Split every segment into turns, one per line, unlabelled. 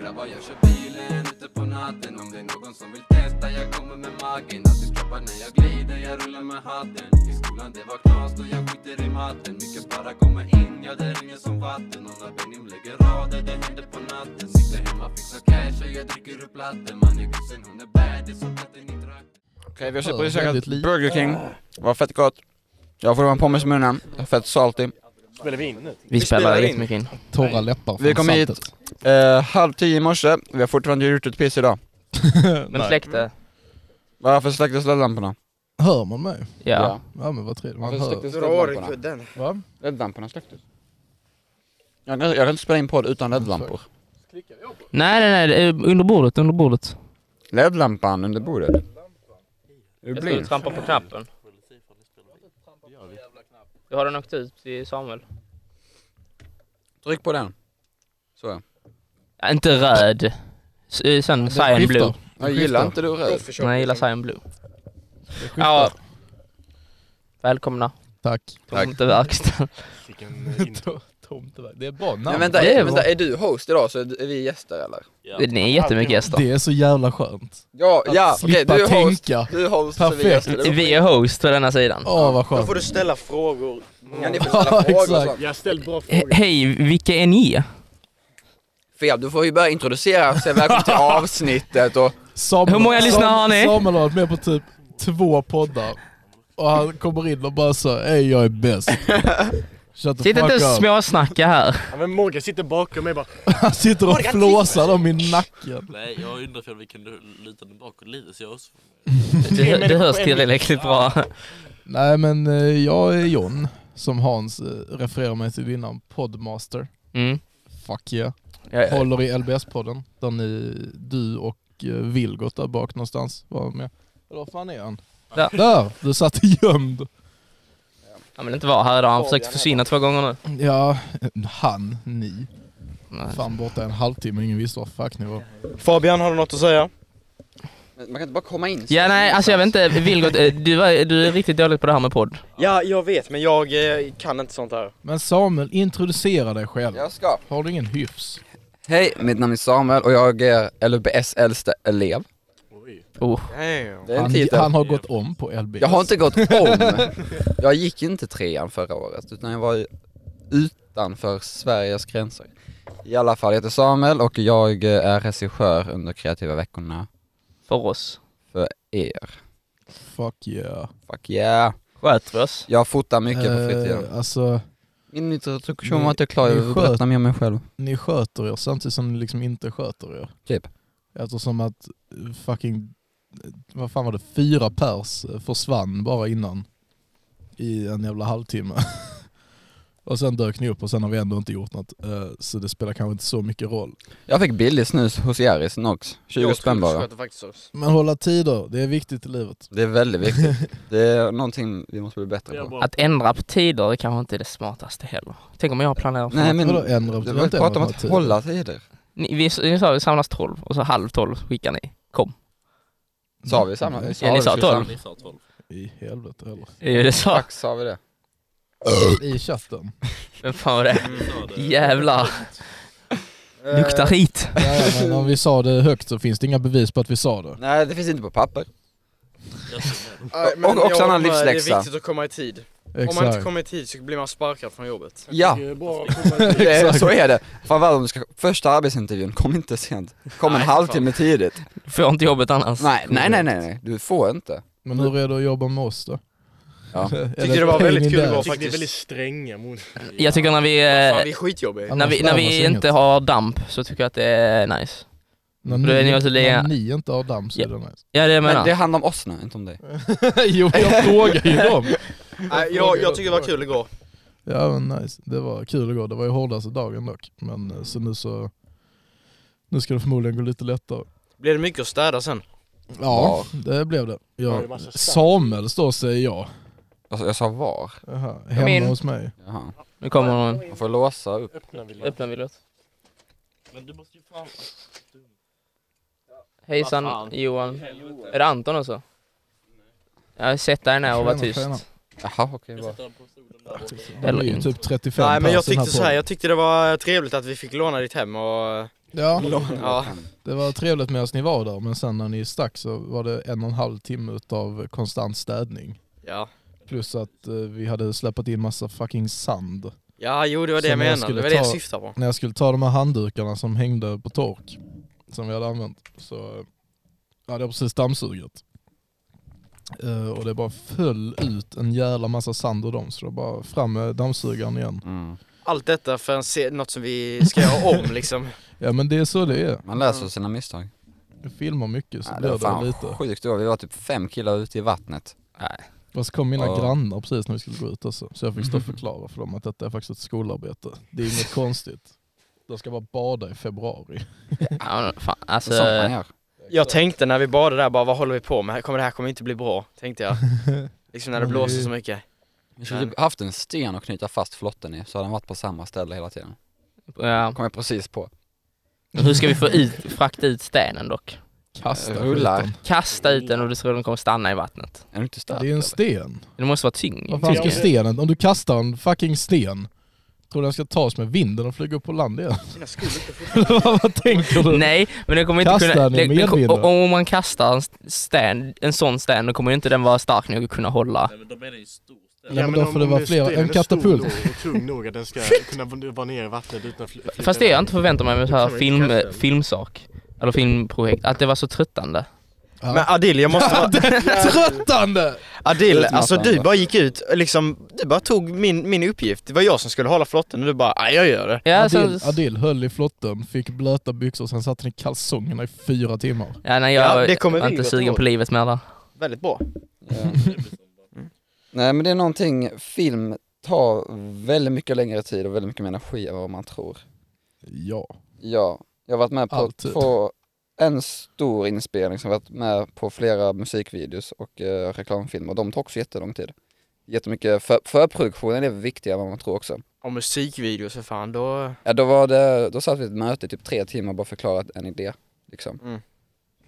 grabbar jag kör bilen ute på natten Om det är någon som vill testa, jag kommer med magen Alltid droppar när jag glider, jag rullar med hatten I skolan det var knas då jag skiter i matten Mycket bara kommer in, ja det ringer som vatten Och när Benim lägger rader, det händer på natten Sitter hemma, fixar cash och jag dricker ur platten Man är gussen, hon är bad, det är som katten i trakten
Okej, vi har
Ja,
precis
väldigt
käkat
lite. Ah.
Burger King, var fett gott Jag får en pommes i munnen, fett saltig
Spelar vi in nu?
Vi
spelar
spelar
in.
jättemycket in.
Torra läppar
Vi kom hit. eh, Halv tio i morse, vi har fortfarande gjort ett piss idag
Vem släckte?
Varför släcktes LED-lamporna?
Hör man mig?
Ja.
Ja men vad trevligt, man
Varför
hör.
släcktes LED-lamporna?
kudden.
Va?
LED-lamporna släcktes jag kan, jag kan inte spela in podd utan LED-lampor
Nej, nej, nej. det är Under bordet, under bordet.
LED-lampan under bordet Är du
Jag skulle
blind?
trampa på knappen. Då har den åkt ut till Samuel.
Tryck på den Så ja.
Ja, inte röd. S- eh, Sen cyan blue.
Jag gillar inte du röd
Nej, jag gillar cyan blue. Ja. Välkomna.
Tack.
Tomteverkstan.
Tomteverk. Det är ett bra namn.
Men vänta,
Det är
är,
bra.
vänta, är du host idag så är du- är vi gäster eller?
Ni är jättemycket gäster.
Det är så jävla skönt.
Ja,
Att
ja, Ah, okej
slippa
du är host,
tänka.
du är host så vi är
Perfekt.
gäster Det är
Vi är host på denna sidan.
Åh vad
Då
skönt.
får du ställa frågor.
Ja, ni får
Ja,
ställa frågor och
exakt.
sånt.
Jag har ställt bra
He-
frågor.
Hej, vilka är ni?
Fel, du får ju börja introducera och säga välkommen till avsnittet och
Samuel,
Hur många lyssnare
Sam-
har ni?
Samuel har varit med på typ två poddar. Och han kommer in och bara så, ej jag är bäst. Shut the
Sitt inte
fuck
och
up.
småsnacka här.
Ja, men Morgan sitter bakom mig bara.
Han sitter och flåsar dem i nacken.
Nej, jag undrar ifall vi kan luta den bakåt lite så jag också får
Det, det hörs tillräckligt bra.
Nej men eh, jag är John, som Hans eh, refererar mig till innan, Podmaster.
Mm.
Fuck yeah.
Ja,
Eh.
ja.
Håller i LBS-podden, där ni, du och eh, Vilgot där bak någonstans var med. Eller var fan är han?
Där.
Där! Du satt gömd.
Han vill inte vara här idag, han har försökt försvinna två gånger nu.
Ja, han, ni.
Nej.
Fan borta en halvtimme, ingen visste var fuck ni var.
Fabian, har du något att säga?
Man kan inte bara komma in
Ja nej, alltså jag vet inte, Vilgot, eh, du, var- du är riktigt dålig på det här med podd.
Ja, jag vet, men jag eh, kan inte sånt här.
Men Samuel, introducera dig själv.
Jag ska
Har du ingen hyfs?
Hej, mitt namn är Samuel och jag är LBS äldsta elev
Oh.
Damn.
Det är en
Han,
titel
han har gått om på LBS.
Jag har inte gått om Jag gick inte trean förra året utan jag var ju utanför Sveriges gränser I alla fall, jag heter Samuel och jag eh, är regissör under kreativa veckorna
För oss.
för er
Fuck yeah.
Fuck yeah!
Sköter vi oss?
Jag fotar mycket på
Eh,
fritiden
alltså,
Min introduktion
ni-
var inte klar,
ni
jag vill
sköt-
berätta mer om mig själv
ni sköter er samtidigt som ni liksom inte sköter er.
Typ.
Eftersom att eh, fucking, eh, vad fan var det, fyra pers eh, försvann bara innan. I en jävla halvtimme. och sen dök ni upp och sen har vi ändå inte gjort något. eh, Så det spelar kanske inte så mycket roll.
Jag fick billig snus hos Jerrys Nox, 20 spänn bara
faktiskt oss.
Men hålla tider, det är viktigt i livet.
Det är väldigt viktigt, det är någonting vi måste bli bättre på
Att ändra på tider är kanske inte det smartaste heller. Tänk om jag planerar för
Nej
något.
men,
Vadå ändra? Vi har
jag
inte
pratar om
ändrat
att
tider.
hålla tider
Ni, vi, ni sa vi samlas 12 och så halv 12 skickar ni. Kom.
Sa vi samma?
Ja, ni sa
vi samma?
12.
ni sa 12.
I helvete eller?
Jo det sa
Tack sa vi det
I chatten.
Vem fan var det?
Ni sa det.
Jävlar. Luktar skit.
Ja, ja, men om vi sa det högt så finns det inga bevis på att vi sa det.
Nej det finns inte på papper
Jag tror med.
Och- och också en annan livsläxa.
Det är viktigt att komma i tid. Om man inte
Exakt.
kommer i tid så blir man sparkad från jobbet.
Ja, det är, så är det. Framförallt om du ska, första arbetsintervjun, kom inte sent. Kom en
Nej,
halvtimme tidigt.
Du får inte jobbet annars.
Nej, nej, nej, nej, nej, du får inte.
Men hur är det att jobba med oss då?
Ja.
Tyckte det var väldigt kul att vara
Jag tycker ni är väldigt
faktiskt.
stränga mot...
Jag tycker när vi,
Fan, vi
eh,
är skitjobbiga.
när vi, när vi inte har damp så tycker jag att det är nice.
När
Då är ni också lika-
när ni inte har damm så är det nice.
Ja det är det jag menar.
Men det handlar om oss nu, inte om dig.
jo, jag frågar ju dem.
Nej, jag, jag tycker det var kul igår.
Ja men nice, det var kul igår. Det var ju hårdaste dagen dock. Men eh, så nu så... Nu ska det förmodligen gå lite lättare.
Blev det mycket att städa sen?
Ja, det blev det.
Var det
Ja.
massa stack?
Samuel står säger jag.
Alltså, jag sa var.
Jaha,
Kom in.
hemma hos mig.
Jaha.
Nu kommer någon.
Man får låsa upp.
Öppna vill jag.
Öppna Vilgot.
Men du måste ju fan...
Hejsan
Vad fan.
Johan. Är det Anton också? Ja, sätt dig ner och var
Tjena, tjena.
tyst.
Jaha, okej.
Jag
bra.
sätter den på stolen där borta.
Det
Eller
är ju
inte.
typ 35
Nej men jag
pers i den
tyckte så här,
podden.
jag tyckte det var trevligt att vi fick låna ditt hem och
Ja,
Ja.
det var trevligt medan ni var där men sen när ni stack så var det en och en halv timme utav konstant städning.
Ja.
Plus att eh, vi hade släpat in massa fucking sand.
Ja, jo det var det jag
Som jag
menade.
skulle
Det var det jag
ta-
syftade på.
När jag skulle ta de här handdukarna som hängde på tork, som vi hade använt, så eh, hade jag precis dammsugit. Eh, och det bara föll ut en jävla massa sand ur dem så det var bara fram med dammsugaren igen.
Mm.
Allt detta för en se- något som vi ska göra om liksom.
Ja men det är så det är.
Man lär sig av sina misstag.
Jag filmar mycket så
Ja, det
blir
var
det
fan
lite.
sjukt det var, vi var typ fem killar ute i vattnet.
Fast kom mina
Ja. Mhm.
grannar precis när vi skulle gå ut alltså. Så jag fick stå och förklara för dem att detta är faktiskt ett skolarbete. Det är inget konstigt. De ska bara bada i februari.
Ja, men fan,
Det är sånt man
alltså,
gör.
Jag tänkte när vi badade där bara vad håller vi på med? Kommer det här kommer inte bli bra, tänkte jag. Liksom när det
Men
blåser
det-
så mycket.
Vi skulle typ haft en sten att knyta fast flotten i, så hade den varit på samma ställe hela tiden.
ja.
Kom jag precis på.
Men Hur ska vi få ut, frakta ut stenen dock?
Kasta
Rullar.
skiten.
Kasta ut den och du tror den kommer stanna i vattnet.
Är du inte stark?
Det är en
eller?
sten.
Den måste vara tyngd.
Vad fan ska
tyngre.
stenen, om du kastar en fucking sten, tror du den ska tas med vinden och flyga upp på land igen? Eller vad, vad tänker du?
Nej, men den kommer inte
Kasta
kunna...
den i
Den, den,
medvind då.
om om man kastar en, sten, en sån sten, då kommer inte den vara stark nog att kunna hålla.
Nej men de är ju stor ställ.
Nej, men då
om-
får det
om
vara
nu
flera.
stenen
En
är stor
katapult.
nog och tung nog att den ska kunna v- vara nere i vattnet utan att fly- flyta
Fast det jag inte förväntar mig med så här
Kan man inte
film,
kasta den?
filmsak, eller filmprojekt, att det var så tröttande.
Ja.
Men Adil, jag måste vara...
Tröttande!
Adil,
Lite
alltså
mattan,
du
va?
bara gick ut, liksom, du bara tog min, min uppgift. Det var jag som skulle hålla flotten och du bara, "Aj, jag gör det.
Ja,
Adil,
så,
Adil höll i flotten, fick blöta byxor, sen satt han i kalsongerna i fyra timmar.
ja, nej, jag
Ja, det kommer
var
vi
inte
gå
sugen
till.
på livet mer där.
Väldigt bra.
Ja. Nej men det är någonting, film tar väldigt mycket längre tid och väldigt mycket mer energi än vad man tror.
Ja.
Ja, jag har varit med på
Alltid.
två, en stor inspelning som jag har varit med på flera musikvideos och eh, reklamfilmer. De tar också jättelång tid. Jättemycket, för, förproduktionen är viktigare än vad man tror också.
Och musikvideos för fan, då...
Ja, då, var det, då satt vi i ett möte i typ tre timmar och bara förklarat en idé. Liksom.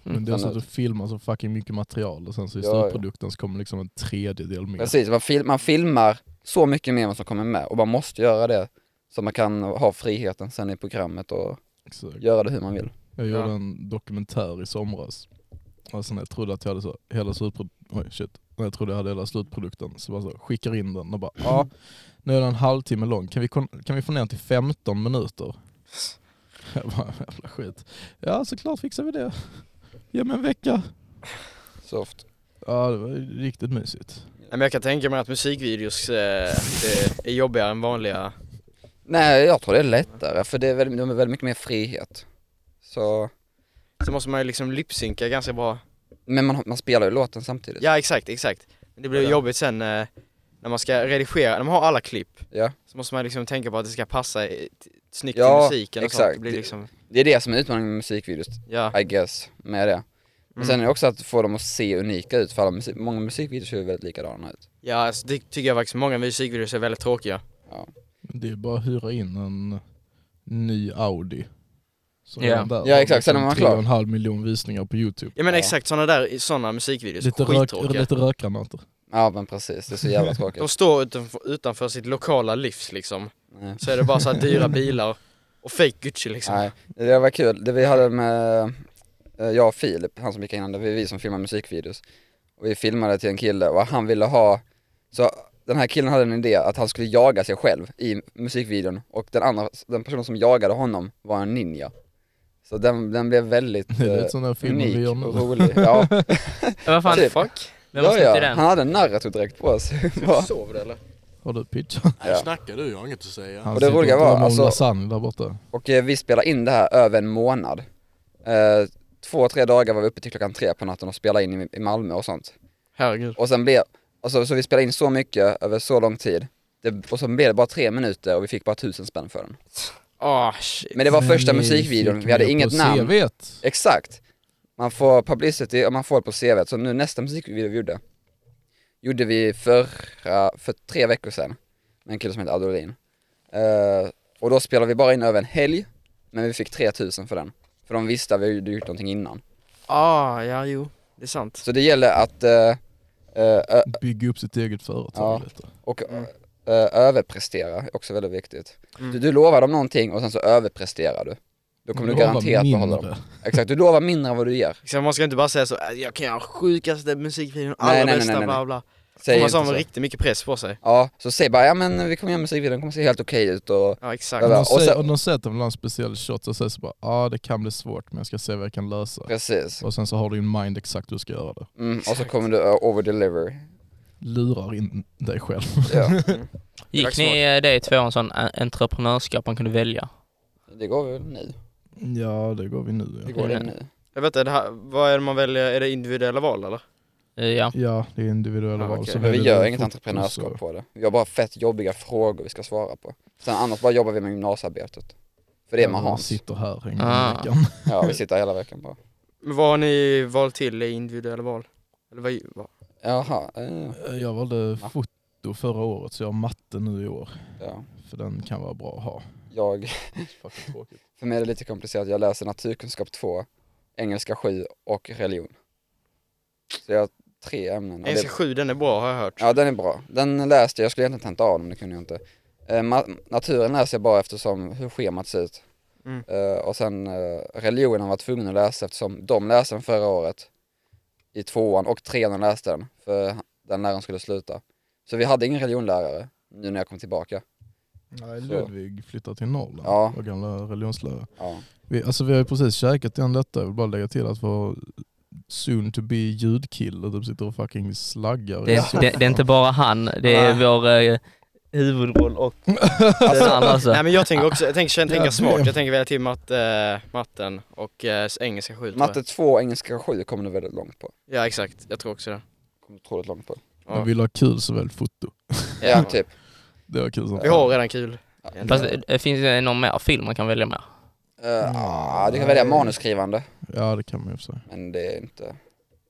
Men det är så att du filmar så fucking mycket material och sen så i
Mm. alltså. Ja, ja.
slutprodukten så kommer liksom en tredjedel mer.
Precis, man, fil, man filmar så mycket mer än vad som kommer med och man måste göra det så man kan ha friheten sen i programmet och
Exakt.
göra det hur man vill.
Jag
Ja.
gjorde en dokumentär i somras. Alltså när jag trodde att jag hade så, hela slutprodukten, oj shit. När jag trodde jag hade hela slutprodukten så bara så, skickar in den och bara ja, nu är den en halvtimme lång, kan vi, kon- kan vi få ner den till 15 minuter? Jag bara, jävla skit. Ja såklart fixar vi det. Ge mig en vecka.
Soft.
Ja det var riktigt mysigt.
Nej, men jag kan tänka mig att musikvideos eh, det är jobbigare än vanliga.
Nej, jag tror det är lättare för det är väldigt, de är väldigt mycket mer frihet. Så,
Så måste man ju liksom lipsynka ganska bra.
men man, man spelar ju låten samtidigt.
Ja, exakt, exakt. Men Det blir
Ja.
jobbigt sen eh, när man ska redigera, när man har alla klipp.
Ja.
Så måste man liksom tänka på att det ska passa i- t- snyggt till
Ja,
musiken och sånt.
exakt.
Det blir liksom,
Det är det som är utmaningen med musikvideos,
ja.
I guess, med det. Men sen är det också att få dem att se unika ut för alla musik, många musikvideos ser ju väldigt likadana ut.
Ja, alltså, det tycker jag faktiskt. Många musikvideos är väldigt tråkiga.
Det är bara att hyra in en ny Audi. Så
Ja.
redan där
Ja,
har
exakt. Sen är man
tre
klar.
och en halv miljon visningar på youtube.
Ja men
Ja.
exakt, sådana där såna musikvideos,
Lite, rök,
skittråkiga.
lite rökgranater.
Ja men precis, det är så jävla
De
tråkigt.
står utanför, utanför sitt lokala livs liksom.
Nej.
Så är det bara så här dyra bilar och fake Gucci liksom.
Nej, det var kul. Det vi hade med, eh, jag och Filip, han som gick innan, det var vi som filmade musikvideos. Och vi filmade till en kille och han ville ha, så den här killen hade en idé att han skulle jaga sig själv i musikvideon och den andra, den personen som jagade honom var en ninja. Så den, den blev väldigt
Det är
eh,
lite sån där film vi
unik
gör nu.
och rolig. Ja,
Men vad fan,
Typ.
fuck? Vem har
ja,
släppt i
ja.
den?
han hade en narratordräkt på sig. Bara-
Sover du eller?
Har du pitchat?
Nej
Ja.
snackar du, jag har inget att säga.
Han
Och det
sitter
roliga
drömmer
var,
om
alltså-
lasagne där borta.
Och eh, vi spelade in det här över en månad. Eh, två, tre dagar var vi uppe till klockan tre på natten och spelade in i, i Malmö och sånt.
Herregud.
Och sen blev, alltså så vi spelade in så mycket över så lång tid. Det, och sen blev det bara tre minuter och vi fick bara tusen spänn för den.
Ah shit.
Men det var
Men
första
ni
musikvideon,
fick
vi hade
med
inget
på
namn.
CV:t.
Exakt! Man får publicity och man får det på CV. Så nu nästa musikvideo vi gjorde, gjorde vi förra, för tre veckor sedan med en kille som heter Adolin. Eh, och då spelade vi bara in över en helg, men vi fick 3000 för den. För de visste att vi hade gjort någonting innan.
Ah, ja jo. Det är sant.
Så det gäller att eh, eh, ö-
Bygga upp sitt eget företag
Ja.
lite.
och
Mm.
eh, överprestera, är också väldigt viktigt.
Mm.
Du, du lovar dem någonting och sen så överpresterar du. Då kommer du
Lova
garanterat behålla
mindre.
dem. Exakt, du lovar mindre än vad du ger.
Liksom, man ska inte bara säga så, "Äh, jag kan göra sjukaste musikvideon,
Nej, nej,
allra
nej,
bästa,
nej, nej.
bla bla.
Säg
man
inte
har
så.
riktigt mycket press på sig.
Ja, så säg bara ja men vi kommer göra musikvideon, den kommer se helt okej ut och
Ja exakt.
Ja,
Om
va.
de
och
säger-
sen-
Om de säger att de vill ha en speciell shot så säger de bara ja ah, det kan bli svårt men jag ska se vad jag kan lösa.
precis.
Och sen så har du in mind exakt hur du ska göra det.
Mm, och så kommer du uh, overdeliver.
Lurar in dig själv.
Ja,
Gick
Tack så
ni eh, det i tvåan, sån en- entreprenörskap man kunde välja?
det går väl nu.
ja det går vi nu
Det
ja.
går det nu.
Jag vet inte, är det här, vad är det man väljer, är det individuella val eller?
Eh, Ja,
Ja det är individuella
Ja,
val.
okej.
Så
Men vi
väljer
gör
du
inget
fokus och-
entreprenörskap på det. Vi har bara fett jobbiga frågor vi ska svara på. Sen annars bara jobbar vi med gymnasiearbetet. För det är med
Ja, de
Hans.
sitter här en gång
Ah.
i veckan.
Ja, vi sitter hela veckan bara.
Men vad har ni valt till i individuella val? Eller vad, vad?
Jaha, eh,
Jag valde
Ja.
foto förra året så jag har matte nu i år.
ja.
För den kan vara bra att ha.
Jag
Fucking tråkigt.
För mig är det lite komplicerat, jag läser naturkunskap 2, engelska 7 och religion. Så jag har tre ämnen. och det-
Engelska 7 den är bra har jag hört.
Ja den är bra, den läste jag, jag skulle egentligen tenta av den men det kunde jag inte. Eh, ma- naturen läser jag bara eftersom hur schemat ser ut.
Mm.
Eh, och sen eh, religionen var jag tvungen att läsa eftersom de läste den förra året i tvåan och trean läste den för den läraren skulle sluta. Så vi hade ingen religionlärare nu när jag kom tillbaka.
Nej,
Så.
Ludvig flyttar till Norrland,
Ja.
vår gamla religionslärare.
Ja.
Vi, alltså, vi har ju precis käkat igen detta, jag vill bara lägga till att vår soon to be ljudkille typ sitter och fucking slaggar. i
det är,
soffan.
det, det är inte bara han, det är vår eh, huvudroll och den andra alltså.
Nej men jag tänker också, jag tänker, jag tänker
Ja,
smart,
det-
jag tänker välja till matt, eh, matten och eh, engelska 7 tror jag.
Matte 2 engelska 7 kom du väldigt långt på.
Ja exakt, jag tror också det.
Kom du otroligt långt på.
Men vill ha kul så väl foto.
Mm.
Ja, typ.
Det var kul som
Vi
fan.
har redan kul.
Ja.
Egentligen.
Fast eh, finns det någon mer film man kan välja med?
Eh, ah, du kan
Mm.
välja manusskrivande,
Ja det kan man ju för sig.
men det är inte...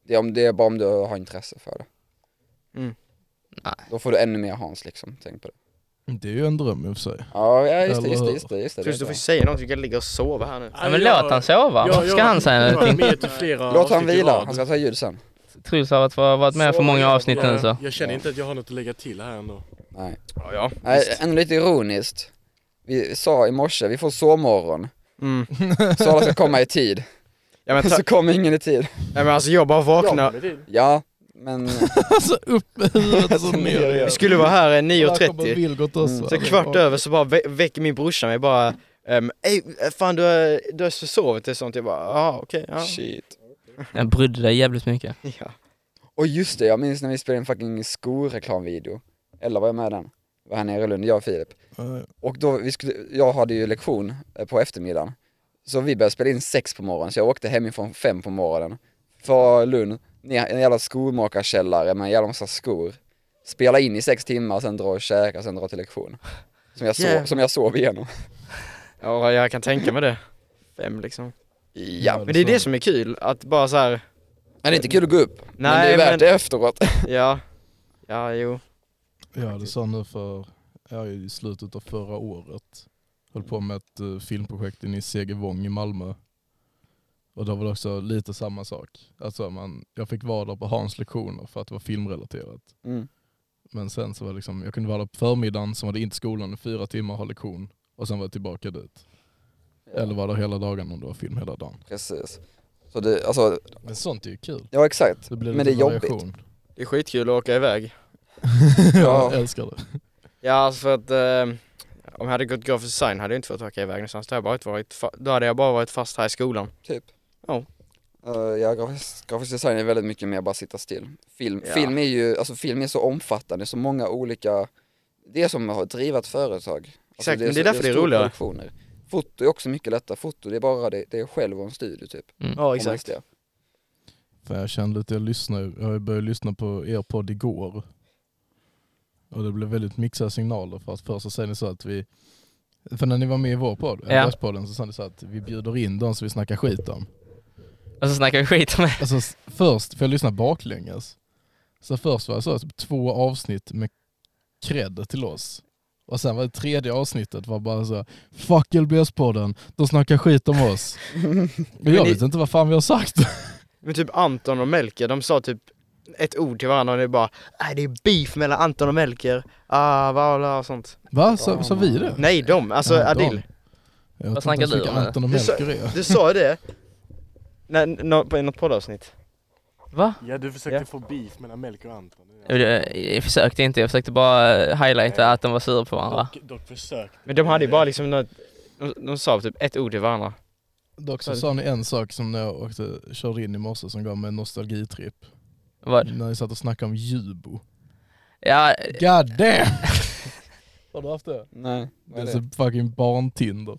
Det är, om, det är bara om du har intresse för det.
Mm.
Nej.
Då får du ännu mer Hans liksom, tänk på det.
Det är ju en dröm i och för sig.
Ja, ja just, det,
Eller
just det,
hur?
just det, just det.
Plus
det är
du får
bra.
ju säga någonting, jag kan ligga och sova här nu.
Ja, men låt han sova,
Ja,
Varför ska
jag-
han säga
jag har
någonting?
med till flera
Låt han
avsnitt i
vila,
rad.
han ska ta ljud sen.
Truls har varit- varit med för
Så,
många
jag-
avsnitt nu så.
jag, jag känner inte att jag har något att lägga till här ändå.
Nej.
Ja, ja.
Nej, ännu lite ironiskt. Vi sa i morse, vi får sovmorgon.
Mm.
Så alla ska komma i tid.
Ja, men, ta,
Så kommer ingen i tid.
ja, men alltså jag bara vaknar.
kommer dit.
Ja, men...
Alltså upp med huvudet så Alltså, ner igen.
Jag skulle vara här eh, 9.30.
Vilgot också.
Mm.
Så kvart över så bara vä- väcker min brorsa mig bara ehm, Ey, fan du har, du har försovit dig och sånt. Jag bara, ah, okej,
Shit.
Jag brydde dig jävligt mycket.
ja. ja.
Och just det, jag minns när vi spelade en fucking skoreklamvideo. Eller var jag med i den? Var här nere i Lund, jag och Filip.
Ja,
Och då, vi skulle, jag hade ju lektion eh, på eftermiddagen. Så vi började spela in sex på morgonen, så jag åkte hemifrån fem på morgonen. För Lund, ner i en jävla skomakarkällare med en jävla massa skor. Spela in i sex timmar, sen dra och käka, sen dra till lektion. Som jag, sov,
Jävlar.
som jag sov igenom.
Ja, jag kan tänka mig det. Fem liksom.
Ja.
Men det är det som är kul, att bara så här.
Men det är inte kul att gå upp. men det
Nej,
är värt
men-
det efteråt.
ja, ja jo.
Ja, det sa nu för, ja, i slutet av förra året. Höll på med ett eh, filmprojekt inne i Segevång i Malmö. Och då var det också lite samma sak. Alltså man, jag fick vara där på Hans lektioner för att det var filmrelaterat.
Mm.
Men sen så var det liksom, jag kunde vara där på förmiddagen, sen var det inte skolan i fyra timmar, ha lektion. Och sen var jag tillbaka dit. Eller var där hela dagen om det var film hela dagen.
Precis. Så det, alltså,
Men sånt är ju kul.
ja exakt.
Det blir
Men
lite
det är jobbigt.
variation.
Det är skitkul att åka iväg.
jag älskar det.
Ja, alltså för att ehm, om jag hade gått grafisk design hade jag inte fått åka iväg någonstans. Då hade jag bara, inte varit fa- då hade jag bara varit fast här i skolan.
Typ.
Ja.
Eh, ja, grafisk, grafisk design är väldigt mycket mer bara sitta still. Film,
Ja.
film är ju, alltså film är så omfattande, så många olika, det är som att driva ett företag. alltså,
Exakt, men
så-
det är därför det är
stora
roligare.
Produktioner. Foto är också mycket lättare, foto det är bara det, det är själv och en studio typ. om
Ja,
man
exakt.
visste
För jag kände att jag lyssnade, jag började lyssna på er podd igår. Och det blev väldigt mixade signaler för att först så säger ni så att vi, för när ni var med i vår podd,
Ja.
ja. podden så sa ni så att vi bjuder in dem som vi snackar skit om.
Och så snackar vi skit om
Alltså s- först, för jag lyssnade baklänges, så först var det så typ två avsnitt med cred till oss. Och sen var det tredje avsnittet var bara så fuck LBS-podden, de snackar skit om oss. Och jag
ni-
vet inte vad fan vi har sagt.
Men typ Anton och Melker, de sa typ ett ord till varandra och det är bara Nej det är beef mellan Anton och Melker, ah bla bla och sånt
Va? Sa, sa vi det?
Nej de, alltså
Ja, de.
Adil
Jag vet
snackar
inte ens vilka
du om nu?
Anton och
Det är så-
Melker är.
Du sa det? När, nå- på- I något poddavsnitt?
Va?
Ja du försökte
Ja.
få beef mellan Melker och Anton.
Jag, jag, jag försökte inte, jag försökte bara eh, highlighta att de var sura på varandra.
Dock, dock försökte.
Men de hade ju bara liksom något, de, de sa typ ett ord till varandra.
Dock så sa ni en sak som när jag åkte, körde in i morse som gav mig en nostalgitripp.
Vad?
När ni satt och snackade om Jubo.
Ja,
God damn! Har du haft det?
Nej,
Det är så fucking barntinder.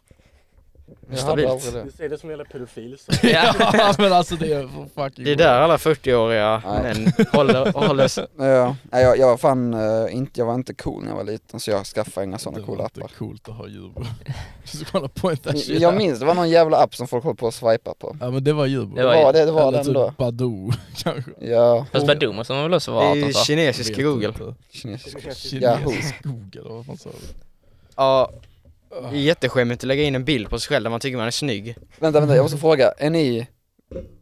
Stabilt.
Du säger det som gäller pedofil så.
ja men alltså det är för fucking
Det är där alla 40-åriga
Nej.
män håller, håller sig.
Ja, nej, jag, jag var fan eh, inte, jag var inte cool när jag var liten så jag skaffade inga
Det
sådana
var
coola
inte
appar.
coolt att ha Jubo. Du ska kolla på inte
Jag- Jag minns, det var någon jävla app som folk höll på att swipa på.
Ja men det var Jubo.
Det
Det
var
var det, det var
Eller
den då.
typ Badoo kanske.
Ja,
fast Badoo måste man väl också
Det
vara
är ju
18 va?
kinesisk
Jag vet
Google.
inte.
kinesisk. Yahoo.
Kinesisk Google, vad fan sa du?
Ja, det är jätteskämmigt att lägga in en bild på sig själv där man tycker man är snygg.
Vänta, vänta, jag måste
Mhm.
fråga, är ni,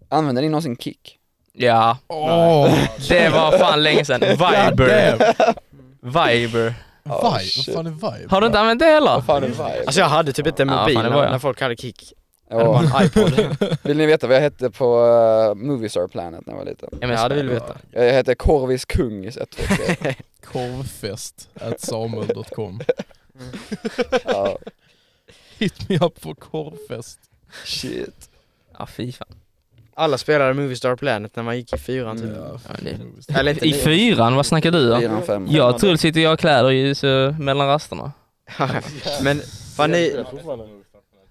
använder ni någonsin kick?
Ja,
Åh!
det var fan länge sedan. Viber. Viber.
Oh,
Vibe?
shit.
Vad fan är vibe?
Har du inte använt det heller?
Fan, det var
Alltså jag hade typ inte en
Ja,
mobil
fan, det var
när,
jag.
när folk hade kick. Jag hade
ja.
bara en iPod.
Vill ni veta vad jag hette på uh, Moviestar Planet när jag var liten?
Ja, men
Ja det vill vi veta.
Jag jag hette Korvis Kung i 123.
Korvfest at samuel.com
ja,
Hit me up for korvfest.
shit.
Ja fy fan.
Alla spelade Movie Star Planet när man gick i fyran typ.
Ja,
Ja, det-
Eller inte
I fyran, vad snackar du om?
405.
Jag och Truls sitter och gör kläder ju så mellan rasterna.
Men fan ni,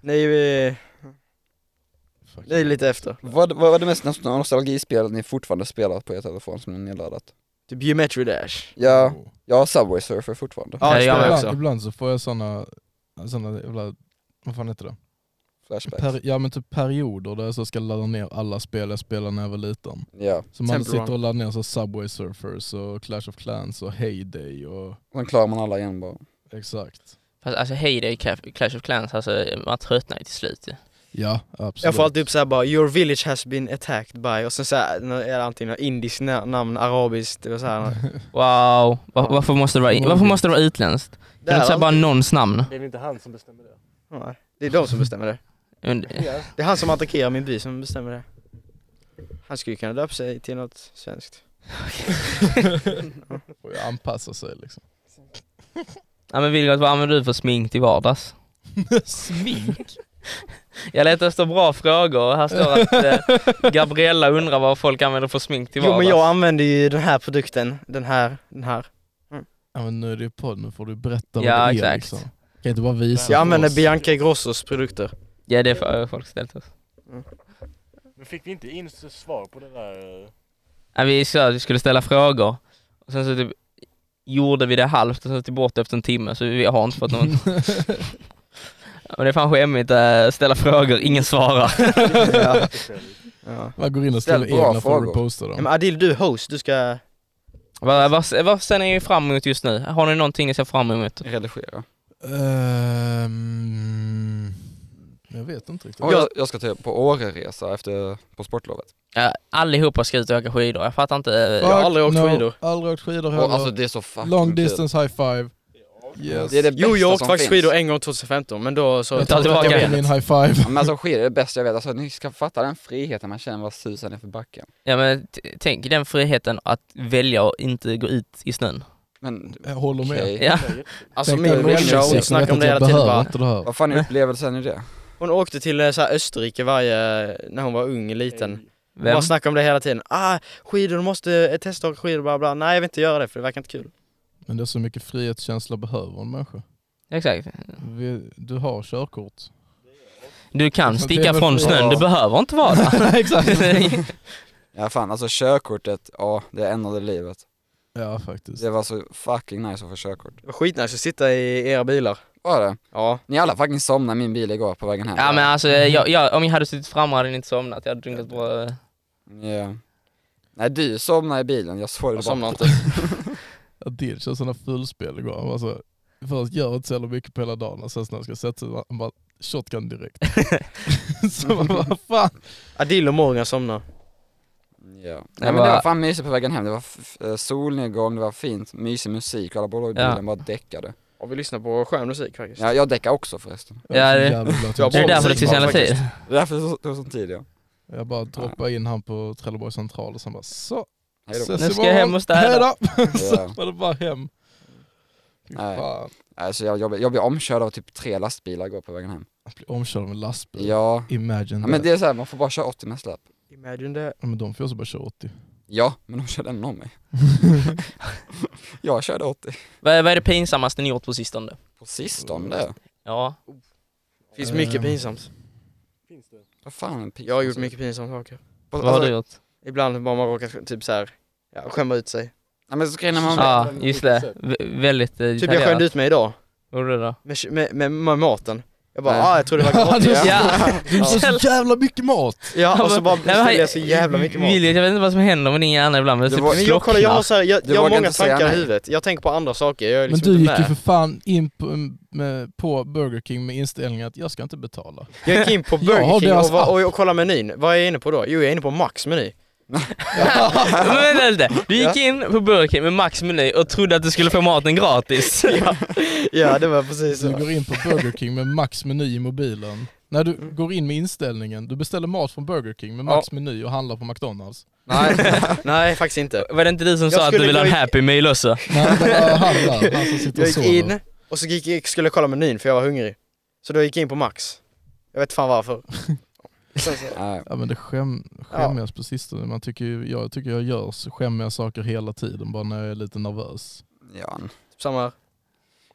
ni är ju, ni är lite efter.
Vad, vad var det mest nostalgispelet ni fortfarande spelar på er telefon som ni har nedladdat?
Typ Geometry Dash.
Ja,
Oh.
jag har Subway Surfer fortfarande.
Ja,
det gör
spelar
jag
jag
Ibland,
också.
ibland så får jag såna, såna jävla, vad fan heter det?
Flashbacks.
Per, ja men typ perioder där jag så ska ladda ner alla spel jag spelade när jag var liten.
Ja,
Så man
Temple Run.
sitter och laddar ner så Subway Surfers och Clash of Clans och Heyday och
sen klarar man alla igen bara.
exakt.
Fast alltså hej det är Clash- Clash of Clans, alltså man tröttnar ju till slut ju.
Ja absolut.
Jag får alltid upp såhär bara 'Your village has been attacked by' och sen såhär, nå- är det antingen något indiskt na- namn, arabiskt, det var
Mm.
såhär
Wow, Va- varför måste det vara, varför måste det vara utländskt? Kan du inte säga bara
alltså.
någons namn?
Det är väl inte han som bestämmer det?
Nej, Det är de som bestämmer det.
Und-
Det är han som attackerar min by som bestämmer det. Han skulle ju kunna döpa sig till något svenskt.
Får ju anpassa sig liksom.
Ja men Vilgot, vad använder du för smink till vardags?
Smink?
Jag letar efter bra frågor och här står att eh, Gabriella undrar vad folk använder för smink till
Jo
vardags.
men jag använder ju den här produkten, den här, den här.
Ja men nu är det ju podd, nu får du berätta
Ja,
vad det är
exakt.
liksom. Kan jag inte bara visa
Jag
för
använder
oss?
Bianca Grossos produkter.
Ja det får folk ställt oss.
Men fick vi inte in så svar på det där? eh?
Ja, vi sa att vi skulle ställa frågor. Och sen så typ gjorde vi det halvt och så tog bort det efter en timme så vi har inte fått någon. ja, men det är fan skämmigt att ställa frågor, ingen svarar.
eh,
Ja.
Man går in och
Ställ
ställer
bra
egna för
frågor.
att reposta dem.
Men Adil, du är host, du ska...
vad, vad, vad ser ni fram emot just nu? Har ni någonting ni ser fram emot?
Redigera.
Ehm, jag vet inte riktigt.
Och jag, jag ska typ på Åre-resa efter, på sportlovet.
Ja, allihopa ska ut och åka skidor, jag fattar inte.
Fuck
har aldrig åkt skidor.
Aldrig åkt skidor
Och,
heller.
alltså det är så fucking
Long
kul.
distance high five. Yes.
Det är det bästa
Jo jag åkte
som
faktiskt
finns.
skidor en gång 2015 men då så...
jag
tar
tar
tillbaka
tillbaka
benet.
min high five.
Ja, men alltså skidor är det bästa jag vet, alltså ni ska fatta den friheten man känner vad susen är för backen.
Ja men t- tänk den friheten att välja att inte gå ut i snön.
Men
Jag håller med.
okej,
Ja.
Alltså
Tänk när
min
jag var
brorsa,
brorsa,
elcykel,
hon
jag vet
snackar om
att
det
jag
hela tiden
behöver
bara.
inte det här.
vad fan är upplevelsen i det?
Hon åkte till eh, så här, Österrike varje, eh, när hon var ung, liten. Hon
Vem?
Bara snackade om det hela tiden. Ah, skidor, du måste eh, testa att åka skidor, bla bla. Nej jag vill inte göra det för det verkar inte kul.
Men det är så mycket frihetskänsla behöver en människa.
Exakt.
Vi- Du har körkort.
Du kan
Det är
sticka
väl
från
fri-
snön, du
Ja.
behöver inte vara där. Exakt.
Ja fan alltså körkortet, ja det ändrade livet.
Ja faktiskt.
Det var så fucking nice att få körkort.
Det var skitnice att sitta i era bilar.
Var det?
Ja.
Ni alla fucking somnade i min bil igår på vägen hem.
ja men alltså, jag, jag, om jag hade suttit framme hade ni inte somnat, jag hade drunkit bra. eh,
Ja. Nej du somnade i bilen, jag såg det
Jag
bara.
somnade inte.
Adil kör sådana fulspel igår. Han bara så, först gör inte så jävla mycket på hela dagen och sen när han ska sätta sig, han bara shotgun direkt. så man bara, vad fan.
Adil och Morgan somnade.
Ja.
var-
Nej, men det var fan mysigt på vägen hem, det var f- f- eh, solnedgång, det var fint, mysig musik, alla båda i
Ja.
bilen bara däckade.
Och vi lyssnar på skön musik faktiskt.
Ja, jag däckar också förresten.
Ja, det-
Jag
Det är
Ja,
därför det
precis,
tog så jävla
ja,
tid.
Det är därför det tog sån tid ja.
Jag bara droppade in han på Trelleborg central och sen bara så,
Hejdå.
ses
Nu ska
imorgon.
jag hem och städa.
Hejdå!
Ja.
så var det bara hem. Fy
Nej.
fan.
Alltså jag, jag, blev- jag blev omkörd av typ tre lastbilar igår på vägen hem.
Att bli omkörd av en lastbil.
Ja.
Imagine
ja
men
men det är såhär, man får bara köra 80 med släp.
Imagine det.
ja, men de får också bara köra 80.
Ja, men de körde ändå om mig. jag körde 80.
Vad, vad är det pinsammaste ni gjort på sistone?
På sistone?
Ja,
Finns
Ehm.
mycket pinsamt.
Finns det?
Vad fan en pizza?
Jag har gjort mycket pinsamma saker.
På,
vad
alltså,
har du gjort?
Ibland bara man råkar typ så här, ja, skämma ut sig.
Nej men så grejen är man...
Ja, ah, just det. V- väldigt eh,
Typ jag
detaljerat.
skämde ut mig idag.
Gjorde du det?
Med, med, med, med maten. Jag bara,
Nej.
ah jag trodde det var gott.
Ja,
ja.
Ja,
Du får så jävla mycket mat!
ja, och så bara
Nej, men han-
beställde jag så jävla mycket mat.
William, jag vet inte vad som händer med din hjärna ibland men det
Det
typ
var-
Men jag, kollar, jag har, så här, jag,
Du
jag har
vågar
många
inte säga
tankar i
nej.
huvudet. Jag tänker på andra saker. Jag är
Men
liksom
du
inte
gick ju
med.
för fan in på, med, på Burger King med inställningen att jag ska inte betala.
Jag gick in på
Jag har alltså-
Burger King
deras
och, var,
app.
och, och kollade menyn. Vad är jag inne på då? Jo, jag är inne på Max meny.
Men vänta lite, du gick in på Burger King med Max meny och trodde att du skulle få maten gratis.
Ja, det var precis
Du går in på Burger King med max meny i mobilen. När du går in med inställningen, du beställer mat från Burger King med max meny och handlar på McDonalds.
Nej, nej faktiskt inte.
Var det inte du som
Jag
sa att du
skulle
ville ha en
gå i-
happy meal också?
Nej, det var han där, han som sitter och
Jag gick
sover.
in och så gick, gick, skulle jag kolla menyn för jag var hungrig. Så då gick jag in på Max. Jag vet fan varför. Sen så,
Nej,
Ja men det skäm, skämjas på sistone. Man tycker, ju- jag tycker jag gör så skämmiga saker hela tiden bara när jag är lite nervös.
ja.
typ samma här.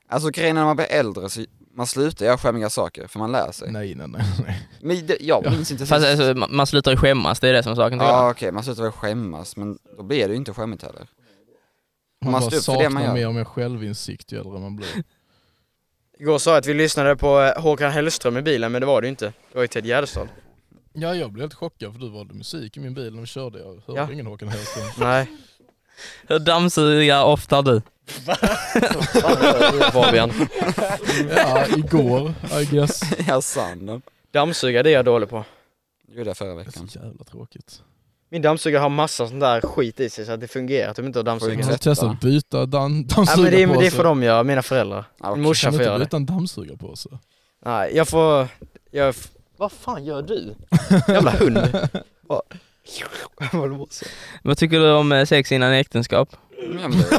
Alltså grejen är när man blir äldre så man slutar göra skämmiga saker för man lär sig.
Nej nej nej. nej.
Men det, jag minns inte
Fast
sist.
alltså, ma- man slutar ju skämmas, det är det som är saken tycker
Ja
jag.
okej, man slutar väl skämmas men då blir det ju inte skämmigt heller.
Man,
Man
bara
står upp för det
saknar
man gör.
mer och mer självinsikt ju äldre man blir.
Igår sa jag att vi lyssnade på eh, Håkan Hellström i bilen, men det var det ju inte. Det var ju Ted Gärdestad.
Ja jag blev helt chockad för du valde musik i min bil när vi körde. Jag hörde
Ja.
ingen Håkan Hellström.
Nej.
Hur dammsugar ofta har du?
Fabian.
ja igår I guess.
ja sann.
Dammsugare, det är jag dålig på.
Det gjorde jag förra
Det är
veckan.
så jävla tråkigt.
Min dammsugare har massa sån där skit i sig så att det fungerar att de inte har
Jag
Får
dammsugare.
har
Ursäkta.
testat Alltså, att byta dan-
Nej men det, är- det
dammsugarpåse.
får de göra, mina föräldrar.
Ja,
Min
okej.
morsa
Kan du
får
inte
göra det.
byta en dammsugarpåse?
Nej, jag får... Jag f- Vad fan gör du? Jävla hund. Vad var det så?
Vad tycker du om eh, sex innan äktenskap?
Ja, men det-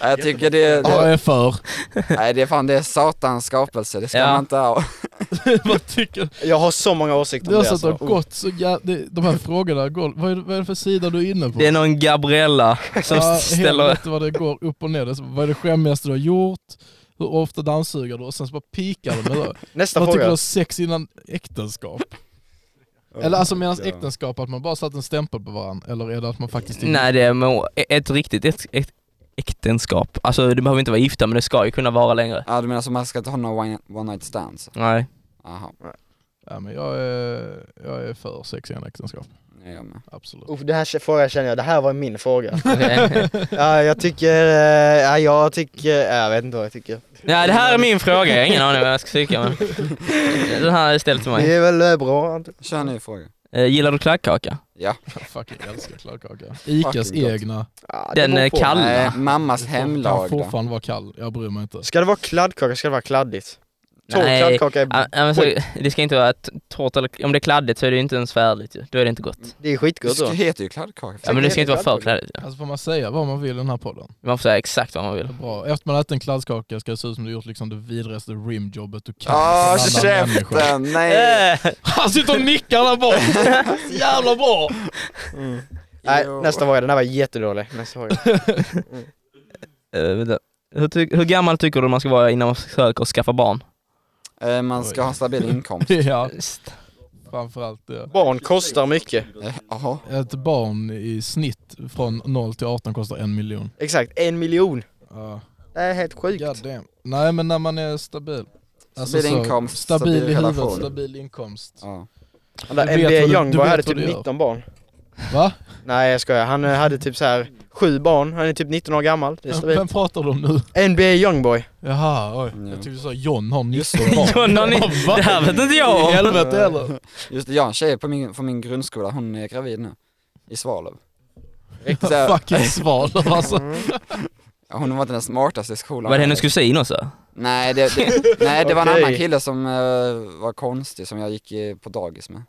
Nej, jag tycker det, det,
Jag är för.
nej, det är fan det är satans skapelse, det ska
Ja.
man inte ha.
Vad tycker
Jag har så många åsikter
du?
om
Alltså
det
att det
alltså.
har gått så jävla... De här frågorna, går- vad är det- vad är det för sida du är inne på?
Det är någon Gabriella som
Ja,
ställer...
helvete vad det går upp och ner. Det är så, vad är det skämmigaste du har gjort? Hur ofta dammsuger du? Och sen så bara pikar de. Eller?
Nästa
Vad tycker du
fråga.
om sex innan äktenskap? Eller alltså medan äktenskap, att man bara satt en stämpel på varandra? Eller är det att man faktiskt...
Nej det är med- ett riktigt ett, ett äktenskap. Alltså det behöver inte vara gifta men det ska ju kunna vara längre.
Ja du menar så man ska inte ha några one, one night stands?
Nej.
Jaha,
Ja, men jag, är, jag är för sex innan äktenskap.
det är jag med.
Absolut.
Uff, det här k- frågan känner jag, det här var min fråga.
Okej.
ja, jag tycker, eh, ja, jag tycker, ja, jag vet inte vad jag tycker.
Nej det här är min fråga, jag har ingen aning vad jag ska tycka men... Den här är ställd till
Det
mig.
är väl eh, bra. antar
Kör en ny fråga.
Eh, Gillar du kladdkaka?
Jag fucking älskar kladdkaka. Icas
Fucking gott.
egna.
jag. Ja, det
Den
beror
eh,
på.
kalla?
Nej, mammas
Kan
hemlagda.
fortfarande vara kall, jag bryr mig inte.
Ska det vara kladdkaka ska det vara kladdigt. Torr
Nej. ah.
kladdkaka, är,
Ja, ja, men så, det ska inte vara t- torrt eller, om det är kladdigt så är det ju inte ens färdigt ju. Då är det inte gott.
det är
Det
skitgott
ska-
då.
heter ju kladdkaka.
Ja men det ska inte vara för
kladdigt.
kladdigt ju.
Alltså får man säga vad man vill i den här podden?
Man får säga exakt vad man vill.
Bra. Efter man ätit en kladdkaka ska det se ut som du gjort liksom det vidrigaste rimjobbet du kan.
Åh
för en annan människa.
Ah, käften, nej!
Äh,
Han sitter och nickar där bort! Så jävla bra!
Nej,
Jo.
nästa fråga, den här var jättedålig. Nästa fråga.
eh, vänta. hur, ty- hur gammal tycker du man ska vara innan man försöker skaffa barn? Äh.
Eh, Man ska
Oj.
ha en stabil inkomst.
Ja, framförallt det.
Barn kostar mycket.
Eh, Jaha,
Ett barn i snitt från 0 till 18 kostar en miljon.
Exakt, en miljon.
Ja.
Det är helt sjukt.
God damn. Nej men när man är stabil. Alltså,
Stabil
så-
inkomst,
stabil,
stabil
i huvudet,
relation.
stabil inkomst.
ja.
Han
Du
där
vet
NBA
vad du- du
Youngboy
vet
hade
vad
typ
du gör.
19 barn.
Va?
Nej jag skojar, han eh, hade typ så här sju barn, han är typ 19 år gammal. Det är stabilt.
Vem pratar du om nu?
NBA Youngboy.
Jaha, oj.
Ja.
Jag tyckte du sa John har 19
Just
barn.
John har ni-
Va?
Det här vet inte jag
I
om.
helvete heller.
Just det, jag har en tjej på min, från min grundskola, hon är gravid nu. I Svalöv. Riktigt så här,
Fucking Svalöv alltså.
hon var inte den smartaste i skolan.
Var det hennes kusin också?
Nej det, det, nej, det var en annan
Okej.
kille som eh, var konstig som jag gick eh, på dagis med.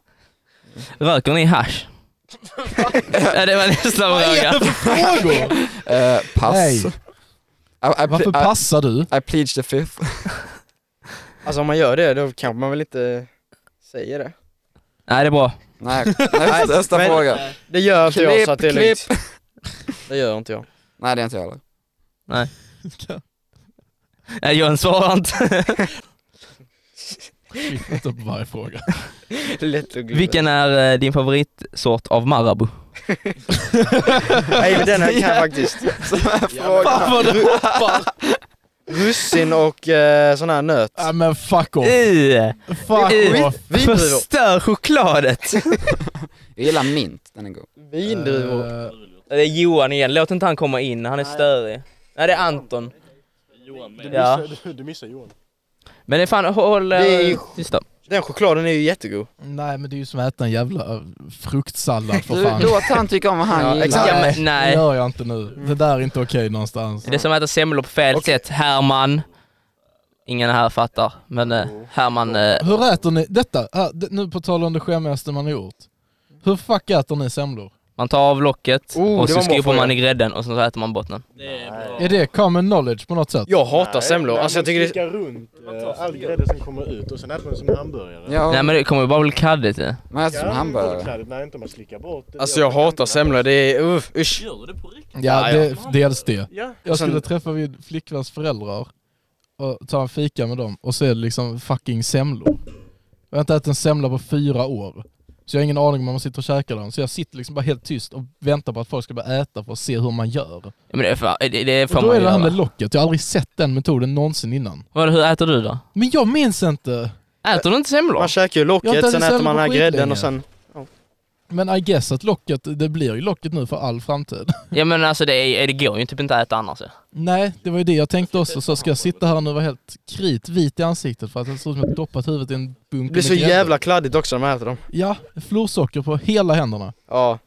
Röker ni hasch? ja, det var nästa fråga.
Frågor!
Eh, pass.
Nej.
I, I,
Varför
I,
passar du?
I plead the fifth.
Alltså om man gör det, då kanske man väl inte säger det.
Nej det är bra.
Nej, nej, nästa
men-
fråga.
Det gör inte jag
Klipp,
så att det är lugnt. Det gör inte jag.
Nej det är inte jag heller.
Nej Jön svarar Eh, inte.
Skit upp varje fråga.
Lätt och
Vilken är eh, din favoritsort av Marabou?
Nej men den här kan jag faktiskt.
Fan vad du hoppar!
Russin och eh, sån här nöt.
Nej men fuck off.
I,
Fuck
Vi-
off.
förstör chokladet!
Jag gillar mint, den är god.
Vindruvor.
Eh,
det är Johan igen, låt inte han komma in, han är störig. Nej det är Anton.
Johan med.
Ja.
Du, du missar Johan.
Men det är fan, håll... eh,
Det är ju-
Tyst då.
Den chokladen är ju jättegod.
Nej men det är ju som att äta en jävla eh, fruktsallad för
Du,
fan.
låt han tycka om vad han
Ja,
gillar.
exakt.
Ja, men,
Det
nej.
gör jag inte nu. Det där är inte okej någonstans.
Det är som att äta semlor på fel sätt. Herman. Ingen här fattar, men eh, Herman... eh,
Hur äter ni, detta, här, det- nu på tal om det skämmigaste man har gjort. Hur fuck äter ni semlor?
Man tar av locket
Oh,
och
det
så
var en bra
skopar man
fråga.
i grädden och sen så äter man botten.
Det är bra.
Är det common knowledge på något sätt?
Jag hatar semlor. Alltså jag tycker det
är... runt eh, all grädde som kommer ut och sen äter man som hamburgare.
Ja, alltså,
Nej
men,
men det kommer ju bara bli kaddigt ju.
man äter som hamburgare.
Kladdigt, Nej, inte om man slickar bort det.
Alltså jag hatar semlor, det är uff, usch.
Gör du det på riktigt?
Ja,
Ja,
det, dels det.
Ja.
Jag
Och sen-
skulle träffa min flickväns föräldrar och ta en fika med dem och så är det liksom fucking semlor. Jag har inte ätit en semla på fyra år. Så jag har ingen aning om vad man sitter och käkar dem. Så jag sitter liksom bara helt tyst och väntar på att folk ska börja äta för att se hur man gör.
Ja, Men det, är för, det, det får
Och då
man
är
ju
det här med
göra.
locket. Jag har aldrig sett den metoden någonsin innan.
Vad, hur äter du då?
Men jag minns inte.
Äter du inte semlor?
Man käkar ju
Jag har
locket,
inte
sen
ätit
äter man den här
semlor på
grädden och
skitlänge.
sen...
Men I guess att locket, det blir ju locket nu för all framtid.
Ja men alltså det, är, det går ju typ inte att äta annars ju.
Nej, det var ju det jag tänkte också. Så ska jag sitta här nu och vara helt kritvit i ansiktet för att jag ser ut som att jag doppat huvudet i en bunke
Det blir
med
så
grädde.
jävla kladdigt också när man äter dem.
Ja, florsocker på hela händerna.
Ja.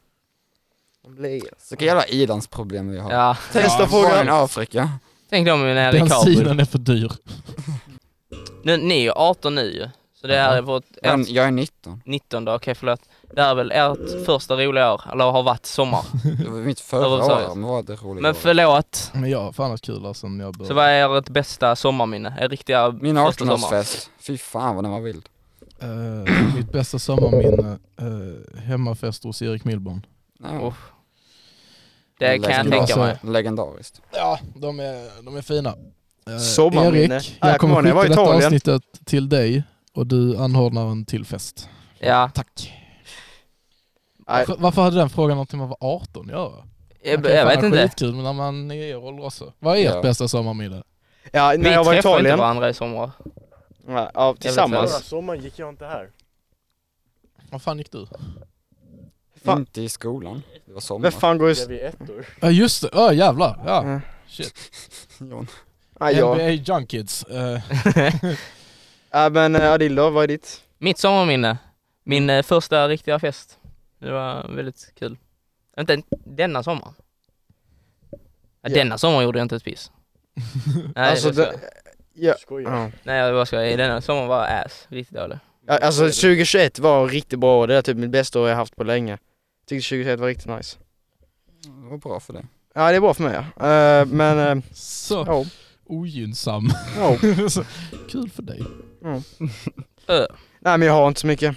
Vilka jävla ilandsproblem vi har.
Ja.
Nästa
Ja,
fråga.
Barn i Afrika.
Tänk om nere i Kabul.
Bensinen är för dyr.
Nu, ni är ju 18 nu ju. Så det här är vårt
Men
ert
jag är 19.
19 okej förlåt. Det här är väl ert första roliga år, eller har varit sommar.
Det var mitt
Ja, vad
förra
sa jag?
år, men vad det roliga
Men
året.
förlåt,
Men jag har fan haft kul här sen jag började.
så vad är ert bästa sommarminne? Er riktiga
Min
första sommar?
18-årsfest, fy fan vad den var vild.
Eh, mitt bästa sommarminne, uh, hemmafest hos Erik Milborn.
Ja.
Uff, Det kan jag
Legendar-
tänka mig.
Legendariskt.
Ja, de är, de är fina. Eh,
Sommarminne.
Erik,
Ja,
jag
jag kommer
kommer
ihåg när jag
skicka
var i
detta
Italien.
avsnittet till dig och du anordnar en till fest.
Ja.
Tack.
Nej.
Varför- Varför hade den frågan någonting med att vara 18 att göra?
Jag,
Det kan
jag
fan
vet
vara
inte.
Skitkul men när man är er ålder också. Vad är ert
Ja.
bästa sommarminne?
Ja, när
Vi
jag var i
träffar inte
Italien.
varandra i sommar.
Ja, Ja,
Förra
Alltså.
tillsammans.
sommaren gick jag inte här.
Vad fan gick du?
Fan.
Inte i skolan. Det var sommar.
Vem fan går i...
Blev vi ettor.
Ja just det, ja jävlar. Ja.
Ja.
Shit.
Jon.
Nej, jag.
NBA Junkids. Eh,
Ja men eh, Adil då, vad är ditt?
Mitt sommarminne. Min eh, första riktiga fest. Det var väldigt kul. Inte en- denna sommar. Ja,
Ja.
Denna sommar gjorde jag inte ett piss. Nej,
Alltså,
alltså, det...
det- Ja.
Skojar.
ja.
Nej jag bara skojar. Denna sommar var ass. Riktigt dålig.
Ja, Alltså 2021 var riktigt bra år, det är typ mitt bästa år jag haft på länge. Tyckte 2021 var riktigt nice.
Det var bra för dig.
Ja det är bra för mig ja. Eh, men, eh,
så
ja.
ogynnsam.
ja.
Så, Kul för dig.
Nej men jag har inte så mycket.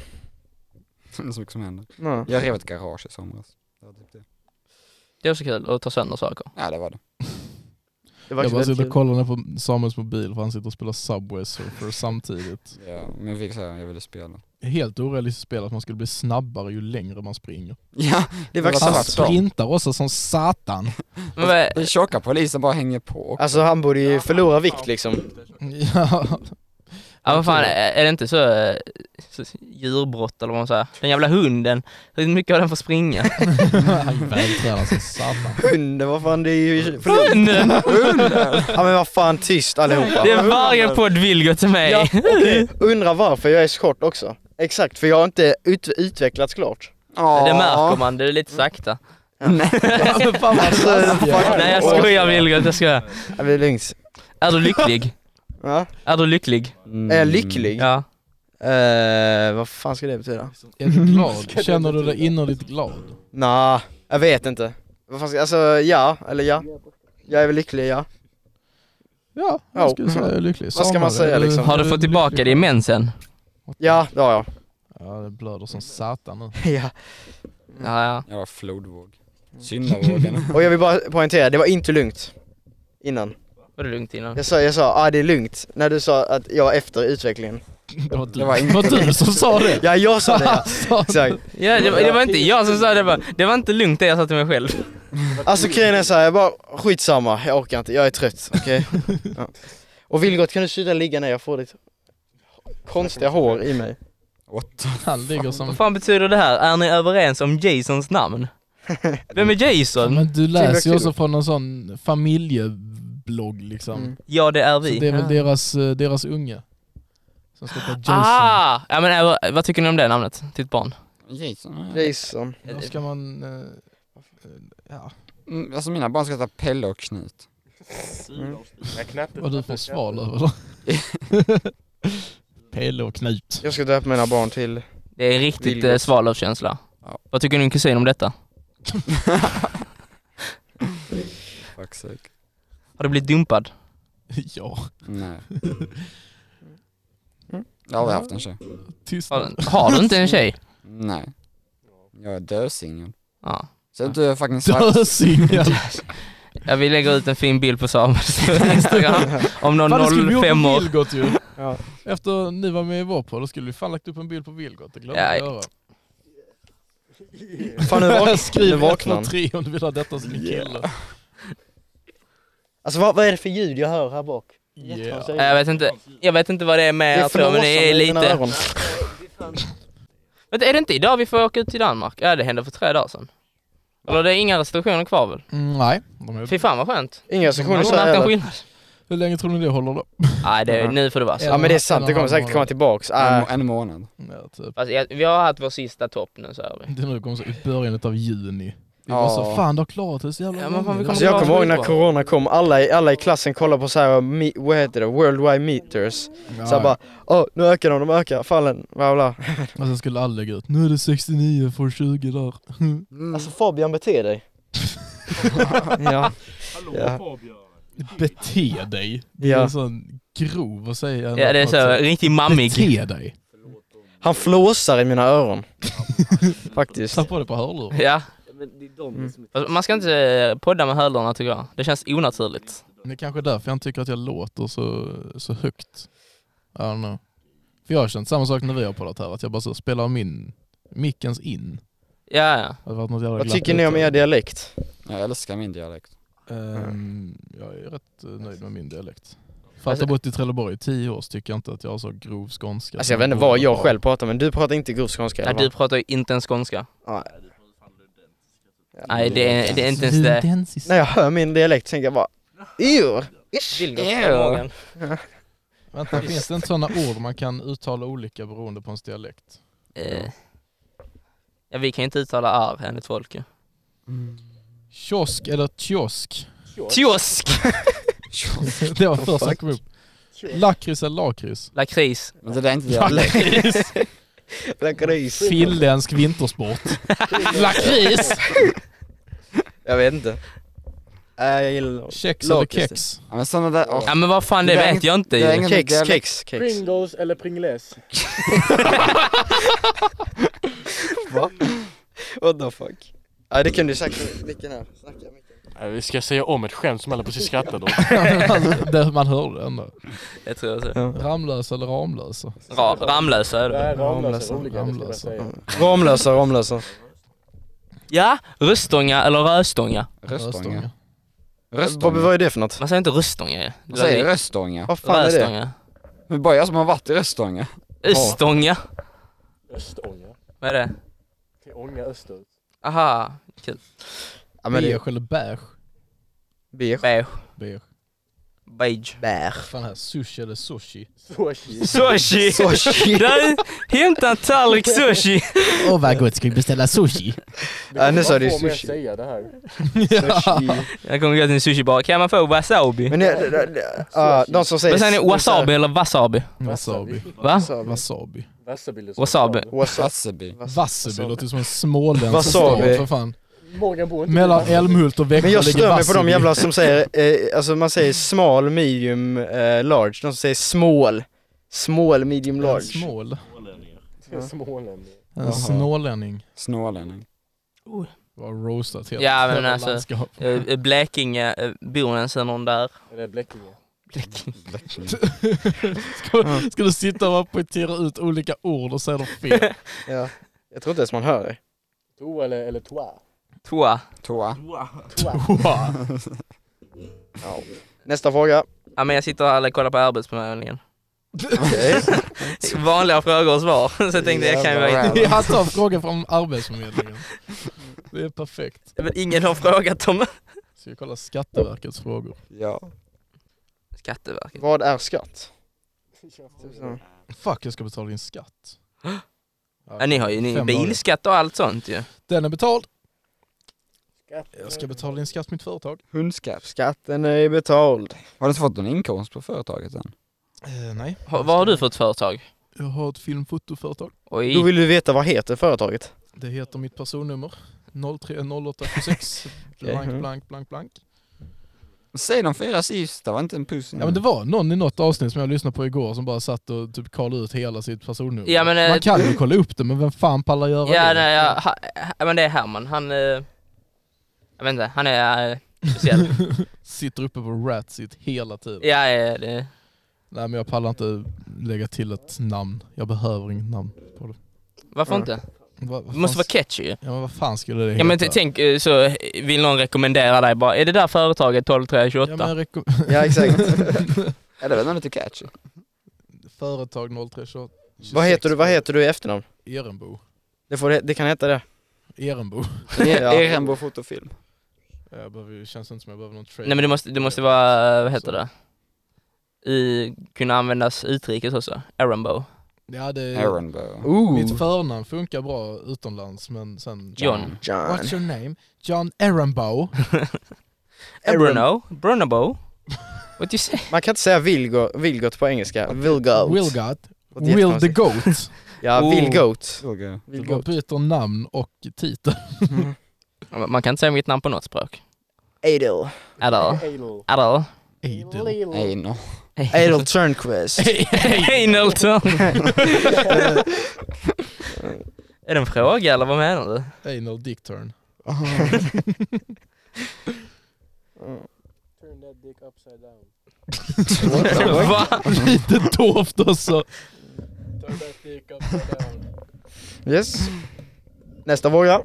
Det är så mycket som händer.
Ja.
Jag rev ett garage i somras. Det var typ det.
Det var så kul att ta sönder saker.
Ja det var det.
Det var
Jag bara
faktiskt
sitter och
väldigt kul.
kollar ner på Samuels mobil för han sitter och spelar Subway Surfer samtidigt.
Ja, men jag fick säga jag ville spela.
Helt orealistiskt spel att man skulle bli snabbare ju längre man springer.
Ja,
Det var
Han
sant.
sant.
sprintar också som satan.
Men vad,
den tjocka polisen bara hänger på.
Alltså han borde ju förlora vikt liksom.
Ja.
ja, vad fan, är är det inte så, eh, så djurbrott eller vad man säger? Den jävla hunden. Hur mycket har den fått springa?
Han är vältränad som satan.
Hunden, vad fan det är ju...
Hunden!
Ja men vad fan tyst allihopa.
Det är varje podd vill gå till mig.
Ja, okej. Undrar varför jag är så kort också. Exakt, för jag har inte ut- utvecklats klart.
Ja.
Det märker man. Det är lite sakta.
Nej.
Fan vad
Alltså,
taskigt.
fuck.
Nej jag skojar Vilgot, jag skojar.
Ja, vi är lugnt.
Är du lycklig?
Ja.
Är du lycklig?
Mm. Är jag lycklig?
Mm. Ja.
Eh, vad fan ska det betyda?
Är du glad? Känner du dig innerligt glad?
Nah, jag vet inte. Vad fan ska, alltså ja, eller ja. Jag är väl lycklig, ja.
Ja,
Ja.
jag skulle säga jag är lycklig.
ska man
Samuel,
säga,
är
liksom?
Har du fått tillbaka
lycklig?
din mensen?
Ja, det har jag.
Ja, det blöder som satan nu.
ja.
Ja, ja.
Jag var flodvåg. Syndavågen.
Och jag vill bara poängtera, det var inte lugnt. Innan.
Var det lugnt innan?
Jag sa, jag sa, ah det är lugnt. När du sa att jag var efter utvecklingen.
Det var du,
Det var
var
inte-
du som sa det!
Ja, jag sa det ja. Exakt.
Ja, det, var- det var inte jag som sa det, det var, det var inte lugnt det jag sa till mig själv.
Alltså grejen är såhär, jag bara skitsamma, jag orkar inte, jag är trött, okej? ja. Och Vilgot kan du sluta ligga ner, jag får ditt konstiga hår i mig.
Han ligger som...
Vad fan betyder det här? Är ni överens om Jasons namn? Vem är Jason?
Men du
Tillväxt
läser ju också
till-
från någon sån familjeblogg liksom.
Mm.
Ja det är
Så
vi.
det är väl deras, eh, deras unge. Som ska heta Jason.
Ah! Ja men eh, vad tycker ni om det namnet? Till ett barn?
Jason. ja.
Jason.
Då ska man... eh, Ja.
Mm, Alltså mina barn ska heta Pelle och Knut.
Jag knäppte
Vad du får sval över då. Pelle och Knut.
Jag ska döpa mina barn till...
Det är riktigt
Vilgot.
eh, Svalövskänsla.
Ja.
Vad tycker din kusin om detta?
Fuck sake.
Har du blivit dumpad?
Ja,
Nej.
Mm.
Jag har aldrig haft en tjej.
tystnad.
Har, har du inte en tjej?
Nej. Jag är dösingel.
Ja.
Ser inte hur jag fucking svart?
Dösingel!
Ja, vi lägger ut en fin bild på Samuels Instagram om någon
Fan det skulle vi gjort
05
på
år.
Vilgot ju.
Ja.
Efter ni var med i vår podd, då skulle vi fan lagt upp en bild på Vilgot. Det glömde
Ja.
jag göra.
Fan nu, vak- nu
Skriv
vaknar
1,
han.
2, 3 om du vill ha detta som din kille.
Alltså vad, vad är det för ljud jag hör här bak?
Yeah.
Jag vet inte, jag vet inte vad det är
Det
med
är
er två, men det är
flåsande i mina
lite...
öron.
Vänta, är det inte idag vi får åka ut till Danmark? Ja, det hände för tre dagar sedan. Eller det är inga restriktioner kvar väl?
Mm, nej, de är...
Fy fan vad skönt.
Inga
Har
sektioner
du
så
märkt en
heller.
skillnad?
hur länge tror ni det håller då?
Nej, det, nu får det vara så.
Ja men det är sant, det kommer säkert komma tillbaks.
En,
Äh,
en månad.
Ja, typ.
Fast, jag- vi har haft vår sista topp nu så är vi.
Det nu kommer så i början av juni. Vi
Ja.
var så fan det har klarat det så jävla
Ja, men fan,
länge.
vi kommer
alltså jag kommer ihåg när corona kom, alla i, alla i klassen kollade på såhär, mi- vad heter det, worldwide meters.
Ja,
Såhär bara, åh nu ökar de, de ökar, fallen, bla bla.
Och sen skulle alla lägga ut, nu är det 69 för 20 där.
Alltså Fabian bete dig. ja. ja.
Bete dig. Det är
Ja.
en sån grov att säga.
Ja, det är så, riktigt mammig.
Bete dig.
Han flåsar i mina öron. Faktiskt.
Ta på dig på hörlurar.
Ja.
Mm.
Fast Man ska inte eh, podda med hörlurarna tycker jag. Det känns onaturligt.
Det är kanske därför jag inte tycker att jag låter så, så högt. I don't know. För jag har känt samma sak när vi har poddat här, att jag bara så spelar min, mickens in.
Ja, ja.
Det har varit något jävla
Vad
glapp
tycker ni om
ute.
er dialekt?
Jag älskar min dialekt.
Ehm, jag är rätt eh, nöjd med min dialekt. För
Alltså-
att jag bott i Trelleborg i tio år så tycker jag inte att jag har så grov skånska.
Alltså jag vet inte vad jag själv pratar men du pratar inte grov skånska
ja du pratar ju inte ens skånska.
Nej.
Nej, det är, det är inte ens det.
När jag hör min dialekt tänker jag bara Eww!
Morgan.
Vänta, finns det inte sådana ord man kan uttala olika beroende på ens dialekt?
Eh. Ja, vi kan ju inte uttala arv enligt folk ju.
Kiosk eller tjosk?
Tjosk!
Det var första som kom upp. Lakrits eller lakrits?
Lakrits.
Men det där är inte dialekt.
Lakris!
Finländsk vintersport. Lakrits!
Jag vet inte. Äh, jag gillar
Kex eller
Lakrits.
kex?
Ja, men sådana där, åh,
Ja men vad fan, det,
Det är
vet
inget-
jag inte
det är
ju.
inget-
Kex,
dialekt.
kex, kex.
Pringles eller Pringles?
What the fuck? Ja det kan du säkert, vilken här? Snacka mycket.
Vi ska säga om ett skämt som alla precis skrattade åt.
Där man hörde det ändå.
Jag tror jag
Ramlösa eller Ramlösa?
så. Ra Ramlösa är det väl?
Ramlösa, Ramlösa.
Ramlösa, Ramlösa.
Ja, Röstånga eller Röstånga.
röstånga.
Bobby
Röstånga.
vad är det för något?
Man säger inte Röstånga ju.
Vad säger du? Röstånga?
Vad fan är det?
Röstånga.
Det är bara jag som har varit i Röstånga.
Östånga.
Östånga.
Vad är det?
Till Ånga österut.
Aha, kul.
Ja men det
Beige eller beige?
beige.
Beige.
Beige.
Beige.
Bär.
Fan här, sushi eller sushi?
Sushi!
Sushi.
Där, hämta en tallrik sushi!
Åh oh, vad gott, ska vi beställa sushi?
Ja, nu sa du sushi.
säga det här?
Sushi.
Jag kommer gå till en sushibar. Kan man få wasabi?
Men det, det, det, det, ja, de som säger...
Vad säger ni? Wasabi eller wasabi?
Wasabi.
Va?
Wasabi.
Wasabi.
Wasabi.
Wasabi.
Hasseby.
Wasabi låter som en småländsk
Wasabi.
stad för fan.
Morgan bor
Mellan Älmhult och Växjö
Men jag
ligger
stör mig på
Wasabi.
de jävla som säger, eh, alltså man säger smal, medium, eh, large. De som säger small. Small, medium,
En
large.
Snål.
Smålänningar.
En snålänning.
Snålänning.
Var roastat helt.
Ja, men
Jävla
alltså-
landskap.
Eh, Blekinge, eh, bor ens någon där?
Eller Blekinge.
Ska, ska du sitta och repetera ut olika ord och säga dem fel?
Ja. Jag tror inte ens man hör det.
To eller, eller toa.
Tvåa.
Toa.
Wow.
Nästa fråga.
Ja men jag sitter här och kollar på arbetsförmedlingen. Vanliga frågor och svar. Så jag tänkte jag kan ju vara
Jävlar.
Jag tar frågan från Arbetsförmedlingen. Det är perfekt.
Men ingen har frågat om
Ska jag kolla Skatteverkets frågor?
Ja.
Skatteverket.
Vad är skatt? Typ
Fuck, jag ska betala din skatt.
Ja, ni har ju ni har ju
Fem dagar.
bilskatt och allt sånt ju.
Den är betald. Jag ska betala din skatt, mitt företag.
Hundskatt.
Skatten är betald.
Har du inte fått någon inkomst på företaget än?
Eh, nej.
Ha, vad har du för ett företag?
Jag har ett filmfotoföretag.
Då
Oj.
vill du veta vad heter företaget?
Det heter mitt personnummer. 030826
Mm.
blank blank blank blank.
Säg de fyra sista, var inte en puss.
Mm.
Ja men det var någon i något avsnitt som jag lyssnade på igår som bara satt och typ kollade ut hela sitt personnummer.
Ja, men, eh,
Man kan ju kolla upp det men vem fan pallar göra
Ja,
det?
nej, ja, ha, ja men det är Herman. Han... eh, Jag vet inte, han är eh, speciell.
Sitter uppe på Ratsit hela tiden.
Ja, ja, det,
Nej men jag pallar inte lägga till ett namn. Jag behöver inget namn på det.
varför
Ja.
inte?
Vad, vad
Det måste
fan-
vara catchy ju.
Ja men vad fan skulle det
Ja men t- tänk eh, så eh, vill någon rekommendera dig bara, är det där företaget 12 3
Ja,
28?
men jag rekom-
Ja exakt.
Ja, det var nog lite catchy.
Företag 0328.
vad heter du, vad heter du i efternamn?
Erenbo.
Det, får, det kan heta det.
Erenbo.
Ja.
Erenbo fotofilm.
Jag behöver, ju- känns inte som jag behöver någon trade.
Nej men det måste, det måste vara, eh, vad heter det? I, kunna användas utrikes också, Arambo.
Ja, det,
Erenbo.
Ooh.
Mitt förnamn funkar bra utomlands men sen...
John.
John.
What's your name? John Erenbo.
Bruno, Brunobo. What you say?
Man kan inte säga Vilgo, Vilgot på engelska. Vilgoat.
Wilgot.
Låter
Will the
jättekonstigt.
Goat.
Ja,
Oh.
Vilgoat.
Såg
Du bara
Vilgoat.
byter namn och titel.
Man kan inte säga mitt namn på något språk.
Adel.
Adal.
Adel.
Adal.
Adel.
Eino.
Adel Turnquist.
Einelton. Är det en fråga eller vad menar du?
Anal Dick Turn.
Ah.
Turn that dick upside down.
Va?
Lite dovt också.
Turn that dick upside down.
Yes. Nästa fråga.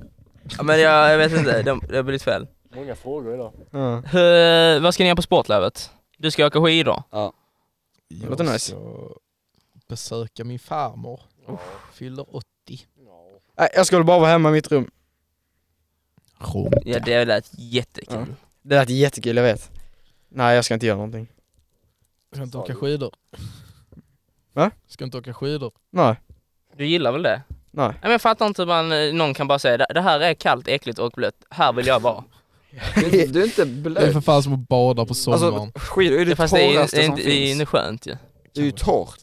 Ja, Men jag, jag vet inte, det det har blivit fel.
Många frågor idag.
Ja.
Hur, vad ska ni göra på sportlovet? Du ska åka skidor?
Jag
låter nice.
ska besöka min farmor. Fyller 80.
Nej, jag skulle bara vara hemma i mitt rum.
Ronka.
Ja det lät jättekul.
Det lät jättekul, jag vet. Nej, jag ska inte göra någonting.
Ska inte åka skidor.
Va?
Ska inte åka skidor.
Nej.
Du gillar väl det?
Nej.
men jag fattar inte hur man, eh, någon kan bara säga "Det- det här är kallt, äckligt och blött, här vill jag vara.
Du, du är inte
Det är för
blöt.
fan som att bada på sommaren.
Alltså skidor är det
Fast det är,
torraste
det är,
som
inte- det är inte
finns.
skönt ju.
Det är ju torrt.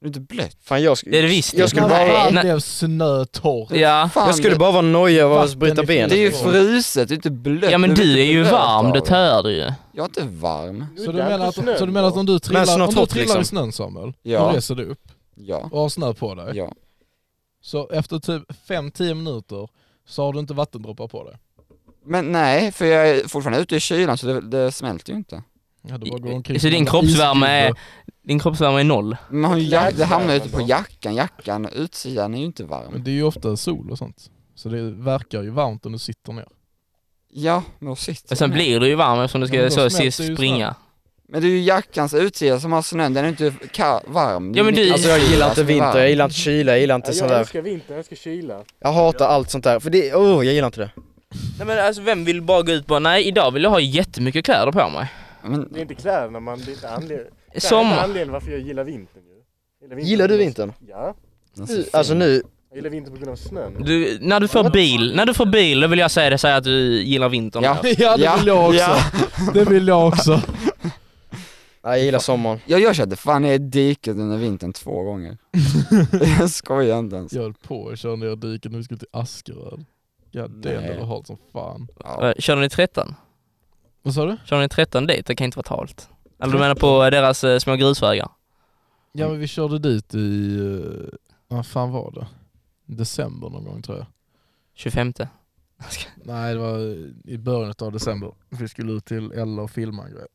Det är inte blött.
Fan, jag, sk-
Det är det visst.
jag skulle
När
bara,
Nej.
fan blev snötorrt.
Ja.
Fan,
jag skulle
det-
bara vara nojig över att
Vatten
bryta
i
ben.
Det är ju fruset, det är inte blött.
ja men du är
inte
ju
blöt
varm,
av
du
det.
tör dig ju. Alltså,
Jag är inte varm.
Så du, menar att, så du menar att om du
snart
trillar, om du
torrt,
trillar i
liksom.
snön Samuel, då
Ja.
reser du upp
Ja.
och har snö på dig.
Ja.
Så efter typ 5-10 minuter så har du inte vattendroppar på dig.
Men nej, för jag är fortfarande ute i kylan så det, det smälter ju inte.
Ja, du bara går omkring
Så
som
din
en
kroppsvärme är-
isgubbe.
Din kroppsvärme är noll.
Men har ju jack, det hamnar ju
Klädsel,
ute på jackan, jackan, utsidan är ju inte varm.
Mm.
Men det är ju ofta sol och sånt. Så det verkar ju varmt om du sitter ner.
Ja, men då sitter
Men sen
jag.
blir du ju varm eftersom du ska
Ja, men då
så
smälter
sist
det ju
springa.
Men det är ju jackans utsida som har snön, den är inte ka- varm.
Ja, men du-
Alltså jag gillar inte vinter, jag gillar inte kyla, jag gillar inte sånt
jag
där.
älskar vinter, jag älskar kyla.
Jag hatar allt sånt där, för det, oh jag gillar inte det.
Nej men alltså vem vill bara gå ut på, nej idag vill jag ha jättemycket kläder på mig.
Men
Det är inte kläderna man, det är inte anledningen. Det är
Sommar.
anledningen varför jag gillar vintern ju. Gillar, vintern
Gillar du vintern?
Ja.
den ser
Du,
fin.
alltså nu,
Jag gillar vintern på grund av snön.
Du, när du får bil, när du får bil, då vill jag säga det, säga att du gillar vintern. Alltså.
Ja.
Ja det
Ja,
vill jag också.
ja.
Det vill jag också.
nej, jag gillar sommaren.
Jag gör så att det fan är i diket under vintern två gånger. jag skojar inte ens.
Jag höll på att köra ner diket när vi skulle till Askeröd. Ja det
Nej.
var halt som fan.
Eh, Kör ni 13?
Vad sa du?
Kör ni 13 dit? Det kan inte vara halt. Eller du menar på eh, deras eh, små grusvägar?
Ja men vi körde dit i, eh, vad fan var det? December någon gång tror jag.
25?
Nej det var eh, i början av december. Vi skulle ut till Ella och filma en grej.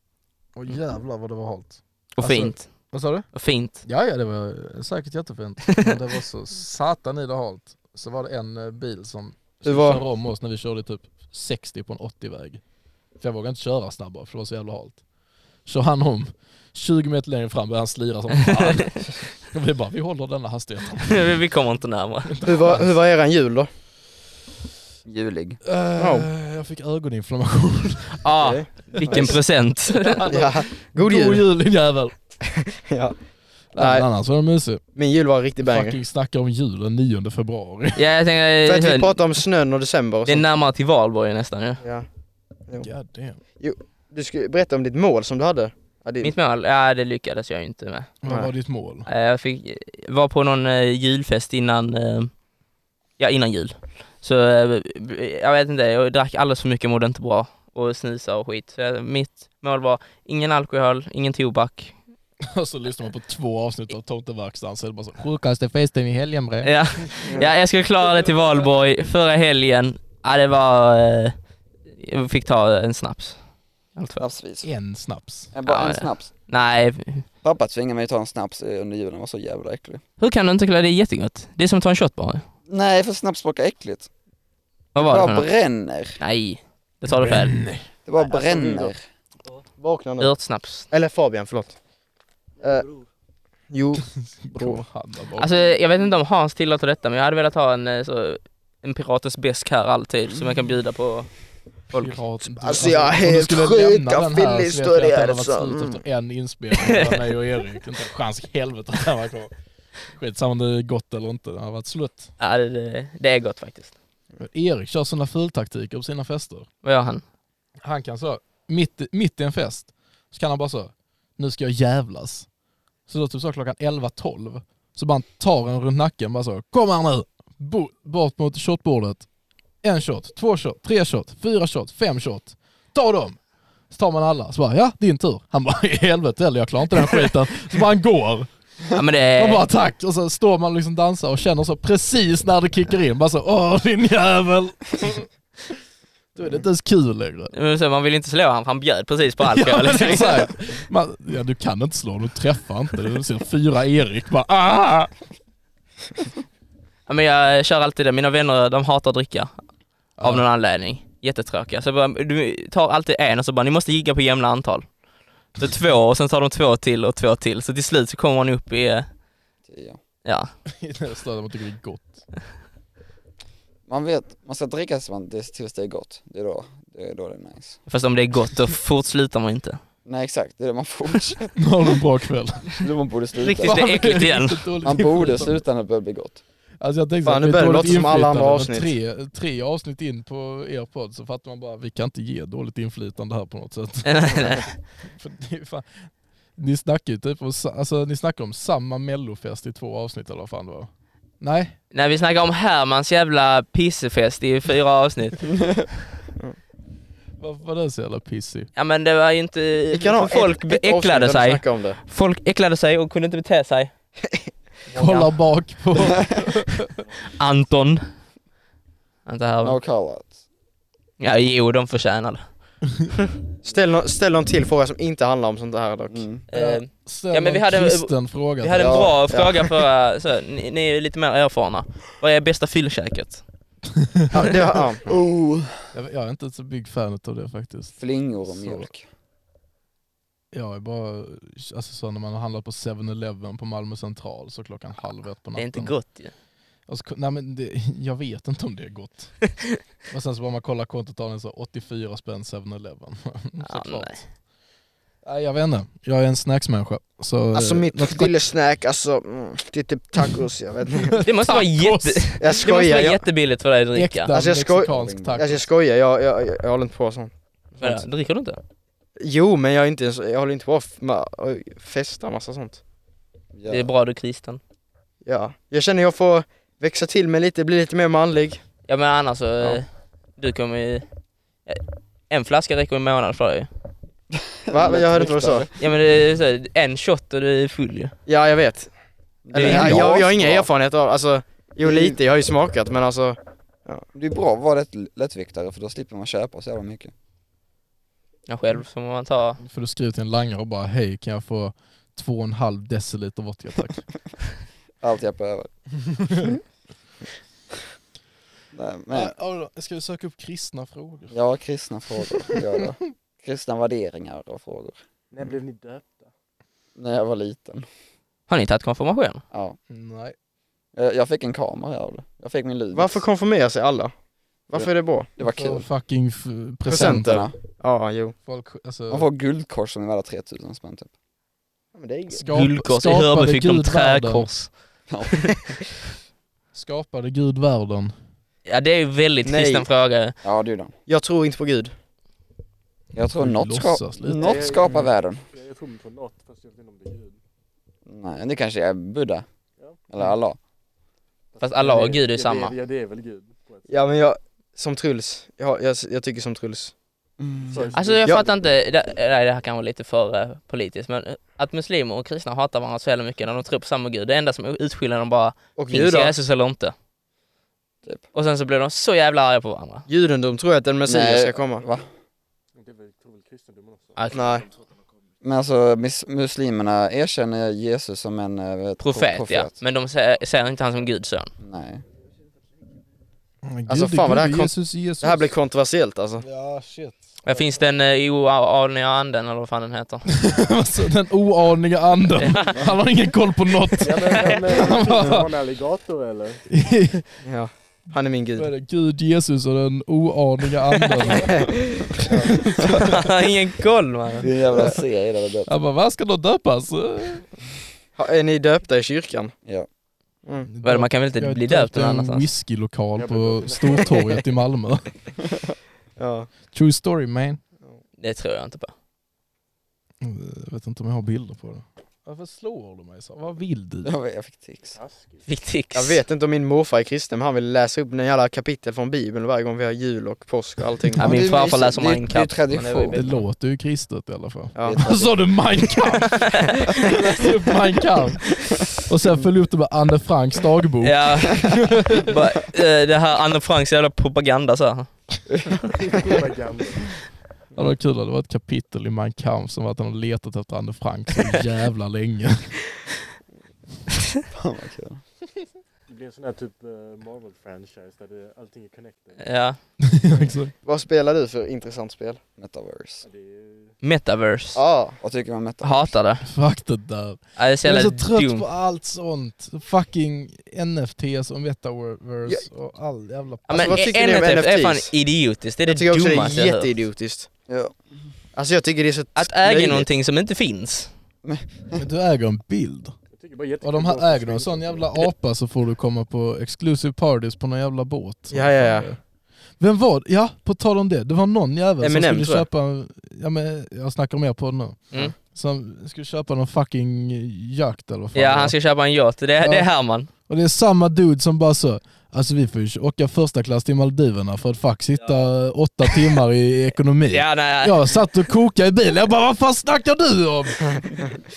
Och jävlar vad det var halt.
Och
Alltså-
fint.
Vad sa du?
Och fint.
Ja, ja det var säkert jättefint. Men det var så satan i det halt. Så var det en eh, bil som
Det var-
körde om oss när vi körde typ 60 på en 80-väg. För jag vågade inte köra snabbare för det var så jävla halt. Så han om 20 meter längre fram började han slira som fan. Och vi bara, vi håller denna hastigheten.
Vi vi kommer inte närmare.
Hur var, hur var eran jul då?
Julig.
Eh, Jag fick ögoninflammation.
Ah, vilken present.
Ja, Alltså, god
God
jul!
jul din jävel!
Ja.
Nej.
Nej.
Annars alltså, var den mysig.
Min jul var en riktig banger.
Fucking snacka om julen 9 februari.
Ja, jag
För att
tänker,
vi
eh,
pratade om snön och december och
det är
sånt.
närmare till valborg nästan ju.
Ja.
God damn.
Du skulle berätta om ditt mål som du hade. Ja, det-
Mitt mål? Ja, det lyckades jag ju inte med.
Vad var ditt mål?
Eh, Jag fick var på någon eh, julfest innan, eh, ja innan jul. Så eh, jag vet inte, jag drack alldeles för mycket och mådde inte bra. Och snusa och skit. Så jag, mitt mål var ingen alkohol, ingen tobak.
Och så lyssnar man på två avsnitt av Tomteverkstan så är det bara så Sjukaste festen i helgen bre.
Ja, ja, jag skulle klara det till valborg förra helgen. Ja, det var... eh, Jag fick ta en snaps. Allt för.
Snapsvis.
En snaps.
Jag bara
Ja,
en
ja.
snaps.
Nej,
Pappa tvingade mig att ta en snaps eh, under julen, den var så jävla äcklig.
hur kan du inte klara det? Det är jättegott. Det är som att ta en shot bara.
Nej för snaps smakar äckligt.
Vad
Det
var det för
bara
något?
bränner.
Nej, det tar du själv.
Det bara
alltså,
bränner.
Vakna nu.
Örtsnaps.
Eller Fabian, förlåt. Eh, jo,
Kommer han där bak.
Alltså jag vet inte om Hans tillåter detta men jag hade velat ha en, eh, så, en piratens besk här alltid som jag kan bjuda på folk.
Pirat- du-
Alltså, jag är
om du
helt
skulle
sjuk
lämna den
av
här så vet
fyllehistorier,
jag att det hade
alltså.
varit slut efter en inspelning mellan mig och Erik. Inte en chans i helvete att den var kvar. Skitsamma om det är gott eller inte, det har varit slut.
Ja, det- det, det är gott faktiskt.
Erik kör sådana fultaktiker på sina fester.
Vad gör han?
Han kan så, mitt, mitt i en fest, så kan han bara så, nu ska jag jävlas. Så då typ så klockan 11-12, så bara han tar en runt nacken bara så, kom här nu! Bo, bort mot shotbordet. En shot, två shot, tre shot, fyra shot, fem shot. Ta dem! Så tar man alla, så bara ja, din tur. Han bara i helvete heller, jag klarar inte den skiten. Så bara han går.
Ja men det
Man bara
är...
tack! Och så står man och liksom dansar och känner så precis när det kickar in, bara så åh din jävel! Då är det inte ens kul längre.
men så, Man vill inte slå han för han bjöd precis på alkohol.
Ja, men
liksom.
exakt. Man, ja, du kan inte slå, du träffar inte. Du ser fyra Erik bara ah!
ja, men jag kör alltid det. Mina vänner de hatar att dricka. Av någon anledning. Jättetråkiga. Så jag bara, du tar alltid en och så bara ni måste gigga på jämna antal. Så två och sen tar de två till och två till. Så till slut så kommer man upp i, eh,
Ja.
ja.
Nästan man tycker det är gott.
Man vet, man ska dricka så man, det, tills det är gott. Det är då det är, då det är nice.
Fast om det är gott då fortslutar man inte.
Nej exakt, det är det man fortsätter.
Nu har du en bra kväll.
det man borde
Riktigt.
sluta.
det är äckligt igen.
Riktigt dåligt
Man borde
inflytande.
sluta när det börjar bli gott.
Alltså jag tänkte
Fan,
att
nu
det är
börjar det
dåligt
låta som alla andra
inflytande, men Tre, tre avsnitt in på er podd så fattar man bara vi kan inte ge dåligt inflytande här på något sätt.
Nej, nej.
För det är fan, ni snackar ju typ om, sa- alltså, ni snackar om samma mellofest i två avsnitt eller vad fan det var. Nej,
När vi snackar om Hermans jävla pissefest i fyra avsnitt.
varför var den så jävla pissig?
Ja men det var ju inte...
vi kan ha
folk
ett, ett avsnitt där
äcklade
vi
sig.
snackar om det.
Folk äcklade sig och kunde inte bete sig.
Kolla bak på...
Anton. Inte här.
No call out.
Ja jo, de förtjänade.
Ställ, nå- ställ någon till fråga som inte handlar om sånt här dock.
Mm.
Eh,
Ställ
Ja, men vi
en
hade-
kristen fråga.
Vi hade en
Ja,
bra
ja.
fråga förra... Så, ni, ni är ju lite mer erfarna. Vad är bästa fyllkäket?
Ja, det, ja.
Oh.
Jag, jag är inte så big fan av det faktiskt.
Flingor och
Så.
mjölk.
Jag är bara, alltså så när man har handlat på 7-Eleven på Malmö central så klockan halv ett på natten.
Det är inte gott ju.
Och så, nej men det, jag vet inte om det är gott. och sen så bara man kollar kontotalen så 84 spänn 7-Eleven.
Ja,
Såklart.
nej.
Nej, jag vet inte. Jag är en snacksmänniska. Så,
Alltså
eh,
mitt dillesnack, alltså, mm, det är typ tacos, jag vet inte.
Det måste vara, jätte,
Jag
det måste
skojar,
vara
jag,
jättebilligt för dig att dricka.
äkta
Alltså, jag skoj-
mexikansk
alltså,
taco.
jag, skojar jag, jag, jag, jag håller inte på sånt.
Vadå, Dricker du inte?
Jo men jag, är inte, ens- jag håller inte på och f- med- och festa massa sånt.
Det är bra du är kristen.
Ja, jag känner jag får växa till mig lite, bli lite mer manlig.
Ja men annars så, eh, du kommer ju... eh, En flaska räcker en månad för dig
Va? Jag hörde inte vad du sa.
Ja men det är så här, en shot och du är full ju.
Ja jag vet.
är
Eller, jag,
bra
jag, jag har ingen
smak.
erfarenhet av, alltså, jo
Det är-
lite, jag har ju smakat men alltså,
Det är bra att vara lätt, lättviktare för då slipper man köpa så jävla mycket.
Ja, själv som man tar...
alltså-
För du skriver till en langare och bara hej kan jag få två och en halv deciliter vodka tack.
Allt jag behöver. Nej, men,
Nej. Ska vi söka upp kristna frågor?
ja kristna frågor, gör det. Kristna värderingar och frågor.
När blev ni döpta?
När jag var liten.
Har ni tagit konfirmation?
Ja.
Nej.
Jag, jag fick en kamera av det. Jag fick min lud.
varför konfirmerar sig alla? Varför är det bra?
Det var
För
kul.
fucking f- presenter.
Presenter.
Presenterna.
Ja, jo.
Folk,
Man
alltså,
får guldkors som är värda 3000 spänn typ.
Ja, men det är ju-
skap-
Guldkors, i Hörby fick de
Gud världen.
träkors.
Skapade Gud världen.
Ja det är ju väldigt
Nej.
kristen fråga.
Ja det är de.
Jag tror inte på gud.
Jag tror
Du
något,
låtsas
ska,
lite.
något skapar världen.
Jag tror på något fast jag vet inte om det är Gud.
Nej det kanske är Buddha. Eller Allah.
Fast Allah och
det-
Gud är
ja,
samma.
det- Ja det är väl Gud. på ett sätt.
Ja men jag, som Truls, jag, jag, jag tycker som Truls.
Sorry,
Alltså jag
Ja.
fattar inte, det, nej, det här kan vara lite för eh, politiskt men eh, att muslimer och kristna hatar varandra så jävla mycket när de tror på samma gud. Det enda som utskiljer dem bara,
Och
finns
judar,
Jesus eller inte?
Typ.
Och sen så blir de så jävla arga på varandra.
judendom tror jag att en messias
Nej.
ska komma.
Va?
Det är väl- tror väl kristendomen också.
Ja,
Nej.
Men alltså mis- muslimerna erkänner Jesus som en eh,
Profet, ja, men de ser, ser inte han som Guds son.
Nej.
Men
Alltså,
Gud är
fan, vad det här
Gud,
kon-
Jesus, Jesus.
Det här blir kontroversiellt alltså.
Ja shit.
Ja, finns den eh, oaniga anden E eller vad fan den heter?
alltså, den oaniga anden. Han har ingen koll på något.
Ja, men, men, har en alligator eller?
Ja. Han är min
Vad är
gud.
det? Gud, Jesus och den oaniga anden.
Ingen koll man.
Det är en jävla serie där det
Han bara, vad ska då döpas?
Ha, är ni döpta i kyrkan?
Ja.
Mm.
Vadå, man kan väl inte
Jag är
bli döpt någon
i en
annanstans?
whiskylokal
Jag
på
blev döpt.
Stortorget i Malmö.
Ja.
True story man.
Det tror jag inte på.
Jag vet inte om jag har bilder på det. Varför slår du mig så? Vad vill du?
Jag, vet, jag fick tics.
Fick tics.
Jag vet inte om min morfar är kristen men han vill läsa upp en jävla kapitel från bibeln varje gång vi har jul och påsk och allting.
Ja,
det
min
är
farfar
mysigt.
läser
Det är-
Mein
det är
Kampf. men var ju
tradition.
Det
bättre.
låter ju kristet i alla fall.
Ja.
Det är
Sa du Mein Kampf? Läste upp Mein Kampf. Och sen följde upp det med Anne Franks dagbok.
Ja, Bara, eh, det här Anne Franks jävla propaganda så här.
Propaganda.
Ja, det var kul att det var ett kapitel i Mein Kampf som var att han har letat efter Anne Frank så jävla länge.
Fan vad kul.
Det blir en sån här typ eh, Marvel-franchise där det, allting är connected.
Ja.
Exakt.
Vad spelar du för intressant spel?
Metaverse.
Ja, det är-
Metaverse.
Ja,
Vad tycker man om metaverse?
Hatar det.
Fuck det där.
Ja, Det är så
Jag är
jävla
så trött
dumt.
på allt sånt. Fucking NFTs och metaverse och all jävla...
Ja,
Alltså,
men e-
vad tycker ni om
NFT är fan
NFTs?
idiotiskt. Det är det
jag tycker också det
dummaste
är
jag hört.
jätteidiotiskt.
Ja.
Alltså jag tycker det är så
Att äga
löjligt.
någonting som inte finns.
Men du äger en bild.
Jag tycker bara jättekul
Och de här
att-
äger du en sån jävla apa så får du komma på exclusive parties på någon jävla båt.
Ja, ja, ja.
Vem var det? Ja, på tal om det. Det var någon jävel
Eminem,
som
tror
skulle
jag.
köpa... en- Ja, men jag snackar mer på det nu.
Mm.
Som skulle köpa någon fucking jakt eller vad fan
Ja,
det var.
han ska köpa en yacht. Det,
Ja.
det är Herman.
Och det är samma dude som bara så Alltså vi får ju åka första klass till Maldiverna för att fuck sitta åtta timmar i ekonomi.
Ja, nej,
Jag satt och kokade i bilen, jag bara vad fan snackar du om?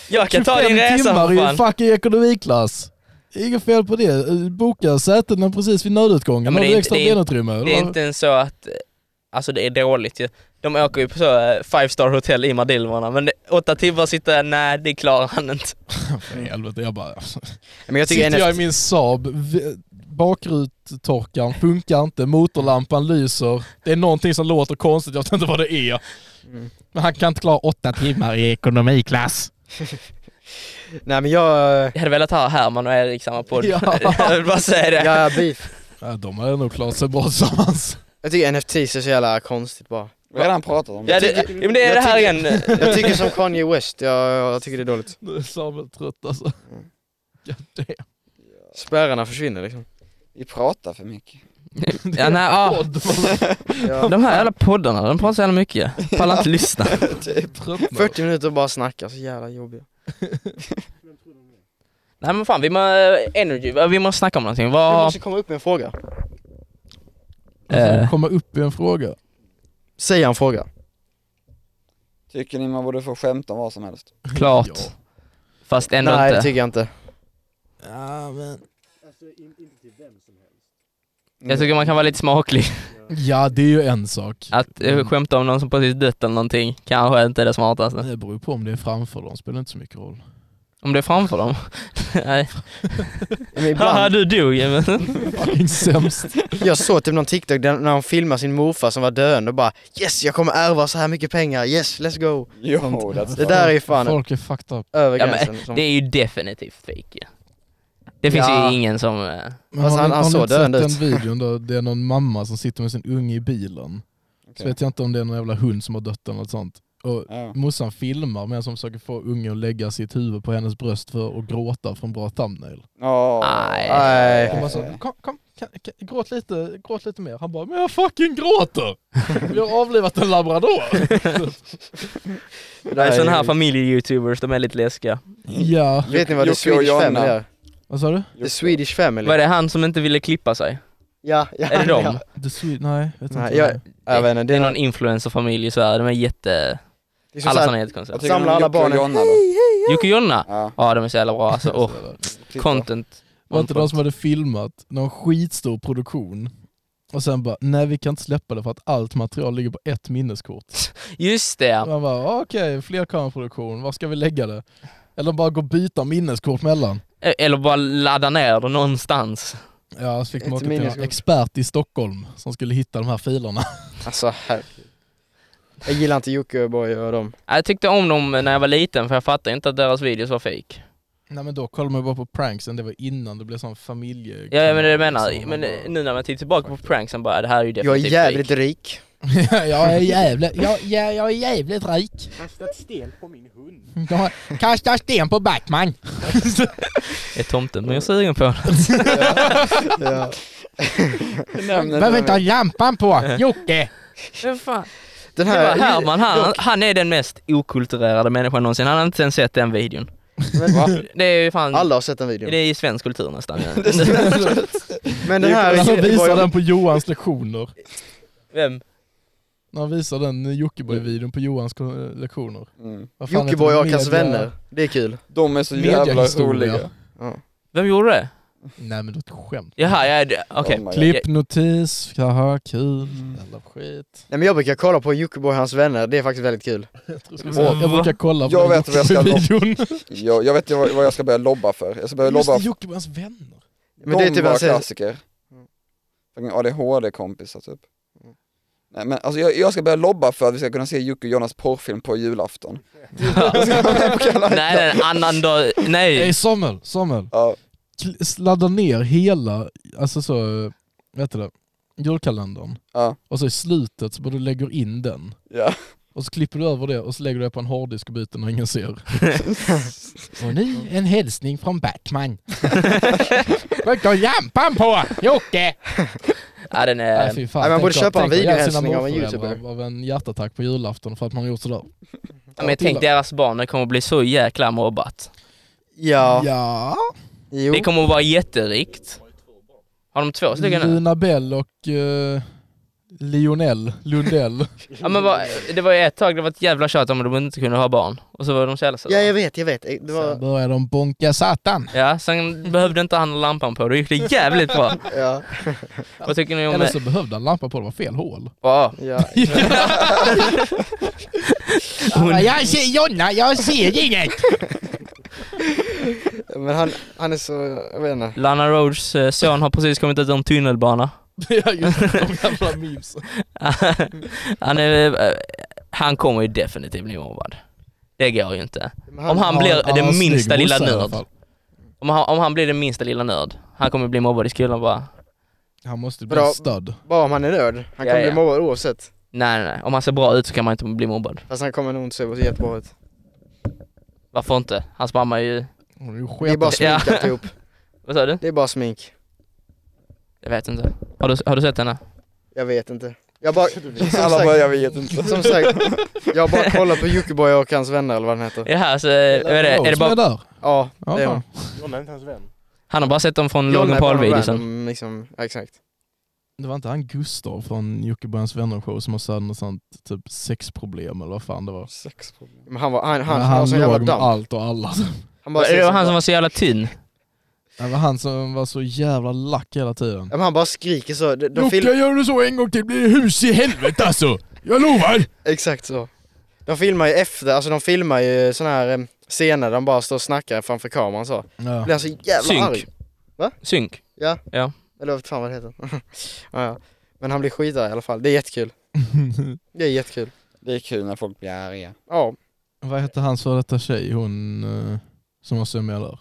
jag kan ta
25
din resa för
timmar i
fan.
fucking ekonomiklass. Inget fel på det. Boka sätena precis vid nödutgången.
Ja, men
Har
det är
du
inte-
extra
det är-
benutrymme?
Det är inte ens så att, eh, alltså det är dåligt ju. De åker ju på så eh, five star hotell i Maldiverna men det, åtta timmar sitta, nej det klarar han inte.
För helvete, jag bara...
Men jag tycker
Sitter
NFT
jag i min Saab, v- bakruttorkaren funkar inte, motorlampan lyser. Det är någonting som låter konstigt, jag vet inte vad det är.
Mm.
Men han kan inte klara åtta timmar i ekonomiklass.
Nej men jag,
Jag hade velat ha Herman och Erik i samma podd.
Ja.
jag vill bara säga det.
jag är beef.
Ja, de hade nog klarat sig bra tillsammans.
Jag tycker NFT är så jävla konstigt bara.
Vi har redan pratat om det.
Ja, det, ja, men det är
jag
det här
tycker-
igen.
Jag tycker som Kanye West, jag, jag tycker det är dåligt.
Nu är Samuel trött alltså. God damn.
Spärrarna försvinner liksom.
Vi pratar för mycket.
Ja, nej, ja.
Ja.
De här jävla poddarna, de pratar så jävla mycket. Jag Pallar inte lyssna.
Tröttnar.
40 minuter och bara snacka, så jävla jobbiga.
Nej men fan, vi måste, energy, eh, vi måste snacka om någonting.
Vi
Vad,
måste komma upp med en fråga.
eh,
Alltså, Komma upp i en fråga.
Säg en fråga.
Tycker ni man borde få skämta om vad som helst?
klart.
Ja.
Fast ändå
Nej det
inte.
tycker jag inte.
Ja, men...
Jag tycker man kan vara lite smaklig.
ja det är ju en sak.
Att eh, skämta om någon som precis dött eller någonting kanske inte är det smartaste.
Det beror ju på om det är framför dem, spelar inte så mycket roll.
Om det är framför dem. Nej.
Men
Haha
ibland,
du dog ju, men-
Fucking sämst.
jag såg typ någon TikTok där, när hon filmar sin morfar som var döende och bara Yes jag kommer ärva så här mycket pengar, yes let's go.
Jo,
Det där är ju fan
Folk är fucked up.
över
Ja, men
gränsen. liksom.
Det är ju definitivt fake ju. Det finns
Ja.
ju ingen som... eh,
Men har
Alltså, han-
ni,
han
har ni
såg
inte
döende
sett den videon där det är någon mamma som sitter med sin unge i bilen? Så
Okej.
vet jag inte om det är någon jävla hund som har dött eller något sånt. Och
Ja.
morsan filmar medan som försöker få ungen att lägga sitt huvud på hennes bröst för att gråta för en bra thumbnail.
Åh.
Nej.
Nej.
Hon bara så, kom, kom, kan, kan, gråt, lite, gråt lite mer. Han bara, men jag fucking gråter! Vi har avlivat en labrador!
Det där
Nej,
är
sådana här
ju-
familje-youtubers, de är lite läskiga.
ja,
Vet ni vad
Jocke
The
och
Swedish Family
Jonna.
är?
vad sa du?
The Swedish Family.
Var det han som inte ville klippa sig?
Ja, ja.
Är det
ja.
dem?
The Swede, nej, vet
Nej,
inte.
jag-
vad det
Jag vet inte,
Det
det
är
är
någon influencerfamilj i Sverige, de är jätte...
liksom
Alla
såhär-
sådana är jättekonstiga.
Vad tycker ni om
Samla alla
Jocke och
barnen.
Jonna då?
Jocke och Jonna?
Ja,
Ja de är så jävla bra alltså, och
är.
titta.
content.
Var inte de som hade filmat någon skitstor produktion och sen bara, nej vi kan inte släppa det för att allt material ligger på ett minneskort.
Just det!
Man bara, okej, fler kameraproduktion, var ska vi lägga det? Eller bara gå och byta minneskort mellan.
E- Eller bara ladda ner det någonstans.
Ja, så fick
Ett
man åka till en
minneskort.
expert i Stockholm som skulle hitta de här filerna.
Alltså herregud. Jag gillar inte Jockiboi och dem.
Jag tyckte om dem när jag var liten för jag fattade inte att deras videos var fake.
Nej men då kollade man ju bara på pranksen, det var innan det blev sån familje...
Ja jag menar det jag menar,
Så
men
man
eh, nu när man tittar tillbaka på pranksen bara, det här är ju
Jag är
definitivt
jävligt rik.
bara, jag, är jävligt, jag, jag, jag är jävligt rik.
Kastat sten på min hund.
Jag har- kastar sten på Backman.
fake. Är tomten men jag är sugen på det.
Ja.
Behöver inte ha lampan på, Jocke!
Men fan.
Den
Det var
här,
Herman, han,
dock-
han är den mest okulturerade människan någonsin. Han har inte ens sett den videon. Det är ju fan,
alla har sett den
det
videon.
är ju svensk kultur nästan.
Men den här
Han Alltså, visar
Jockiboi,
den på Johans lektioner.
Vem?
När han visar den Jockiboi-videon på Johans ko- lektioner.
Mm.
Vad fan heter
Jockiboi och
den?
Akas
Media-
vänner. Det är kul.
De är så jävla
Mediahistoria.
roliga.
Vem gjorde det?
Nej men det är ett skämt.
Jaha, ja, det- okej.
Oh my God.
Klippnotis, haha kul, jävla skit.
Nej men jag brukar kolla på Jockiboi och hans vänner, det är faktiskt väldigt kul.
säga-
jag brukar kolla på
Jag
den
vet vad jag ska
Jockiboi-videon.
Jag, jag vet ju vad vad jag ska börja lobba för. Jag ska börja
Just
lobba
det,
för
Jockiboi och hans vänner.
Men det är
de var
typ han
alltså.
säger,
klassiker.
Mm.
Fucking ADHD-kompisar typ. Nej men alltså jag, jag ska börja lobba för att vi ska kunna se Jocke och Jonas porrfilm på julafton.
Nej, nej, nej, annan dag, nej.
Hey Samuel, Samuel.
Ja,
Kl- Ladda ner hela, alltså så, eh, vet du det, julkalendern.
Ja.
Och så i slutet så bara du lägger in den.
ja.
Och så klipper du över det och så lägger du det på en hårddisk och byter när ingen ser. och nu en hälsning från Batman. Vad går lampan på Jocke?
Ja, den
Nej
är...
fy fan.
Nej, Äh, man
Tänk
borde
att-
köpa en
tänk att ge sina
videohälsning av en
morföräldrar
youtuber.
Av en hjärtattack på julafton för att man har gjort sådär.
Ja, men tänk deras barn, det kommer bli så jäkla mobbat.
ja,
Ja.
jo.
Det kommer vara jätterikt. Har de två stycken nu?
Luna Bell och eh, Lionel Lundell.
Ja, men vad, det var ju ett tag det var ett jävla tjat om att de inte kunde ha barn. Och så var de så jävla
Ja
söta.
jag vet, jag vet. Det
Sen
var,
börjar de bonka satan.
Ja, sen behövde inte han lampan på, då gick det jävligt bra.
ja,
Vad tycker ni om
Eller
det?
så behövde han lampa på, det var fel hål.
Ja,
ja.
Jag ser Jonna, jag ser inget!
Men han, han är så, jag vet inte.
Lana Rhodes eh, son har precis kommit ut ur en tunnelbana.
ja just det, de jävla memes.
han, är, eh, han kommer ju definitivt bli mobbad. Det går ju inte.
Men han-
Om han
Ja,
blir
ja,
den
snygg
minsta lilla
morsa i alla
nörd.
fall.
Om han, om han blir den minsta lilla nörd, han kommer bli mobbad i skolan bara.
Han måste bli
Bra.
stöd.
Bara om han är nörd, han kommer
Ja, ja.
bli mobbad oavsett.
Nej, nej, nej. Om han ser bra ut så kan man inte bli mobbad.
Fast han kommer nog inte se jättebra ut.
Varför inte? Hans mamma är ju...
Hon är ju
Det
sketen.
är bara smink
Ja.
alltihop.
Vad sa du?
Det är bara smink.
Jag vet inte. Har du, har du sett henne?
Jag vet inte. Jag bara, som
Alla bara,
sagt,
jag vet inte.
som sagt jag bara kollar på Jockiboi och hans vänner eller vad den heter.
Ja, alltså, är det, är det
Som
bara,
där?
Ja,
Ja,
det är hon.
fan.
John är inte hans vän.
han har bara sett dem från
Jonna
Logan
är bara någon
Paul-videosen.
random, Liksom, ja, exakt.
Det var inte han Gustav från Jockiboi vänner show som hade något sånt typ sexproblem eller vad fan det var?
Men han var, han, han,
Men
han var
han
sån jävla
låg med
damm.
allt och alla.
Han bara,
Det
ser
var
så-
han som var så jävla tynn.
Det var han som var så jävla lack hela tiden.
Ja, men han bara skriker så. De, de
Jocke,
film,
gör du så en gång till blir det hus i helvete alltså! Jag lovar!
Exakt så. De filmar ju efter, alltså de filmar ju såna här eh, scener där de bara står och snackar framför kameran så.
Ja.
Blir han så jävla
Synk.
arg.
Synk.
Eller vad fan vad det heter. ja, ja. Men han blir skitarg i alla fall, det är jättekul. Det är jättekul.
Det är kul när folk blir arga.
Ja.
Vad hette hans före detta tjej, hon eh, som var sömnmedlare?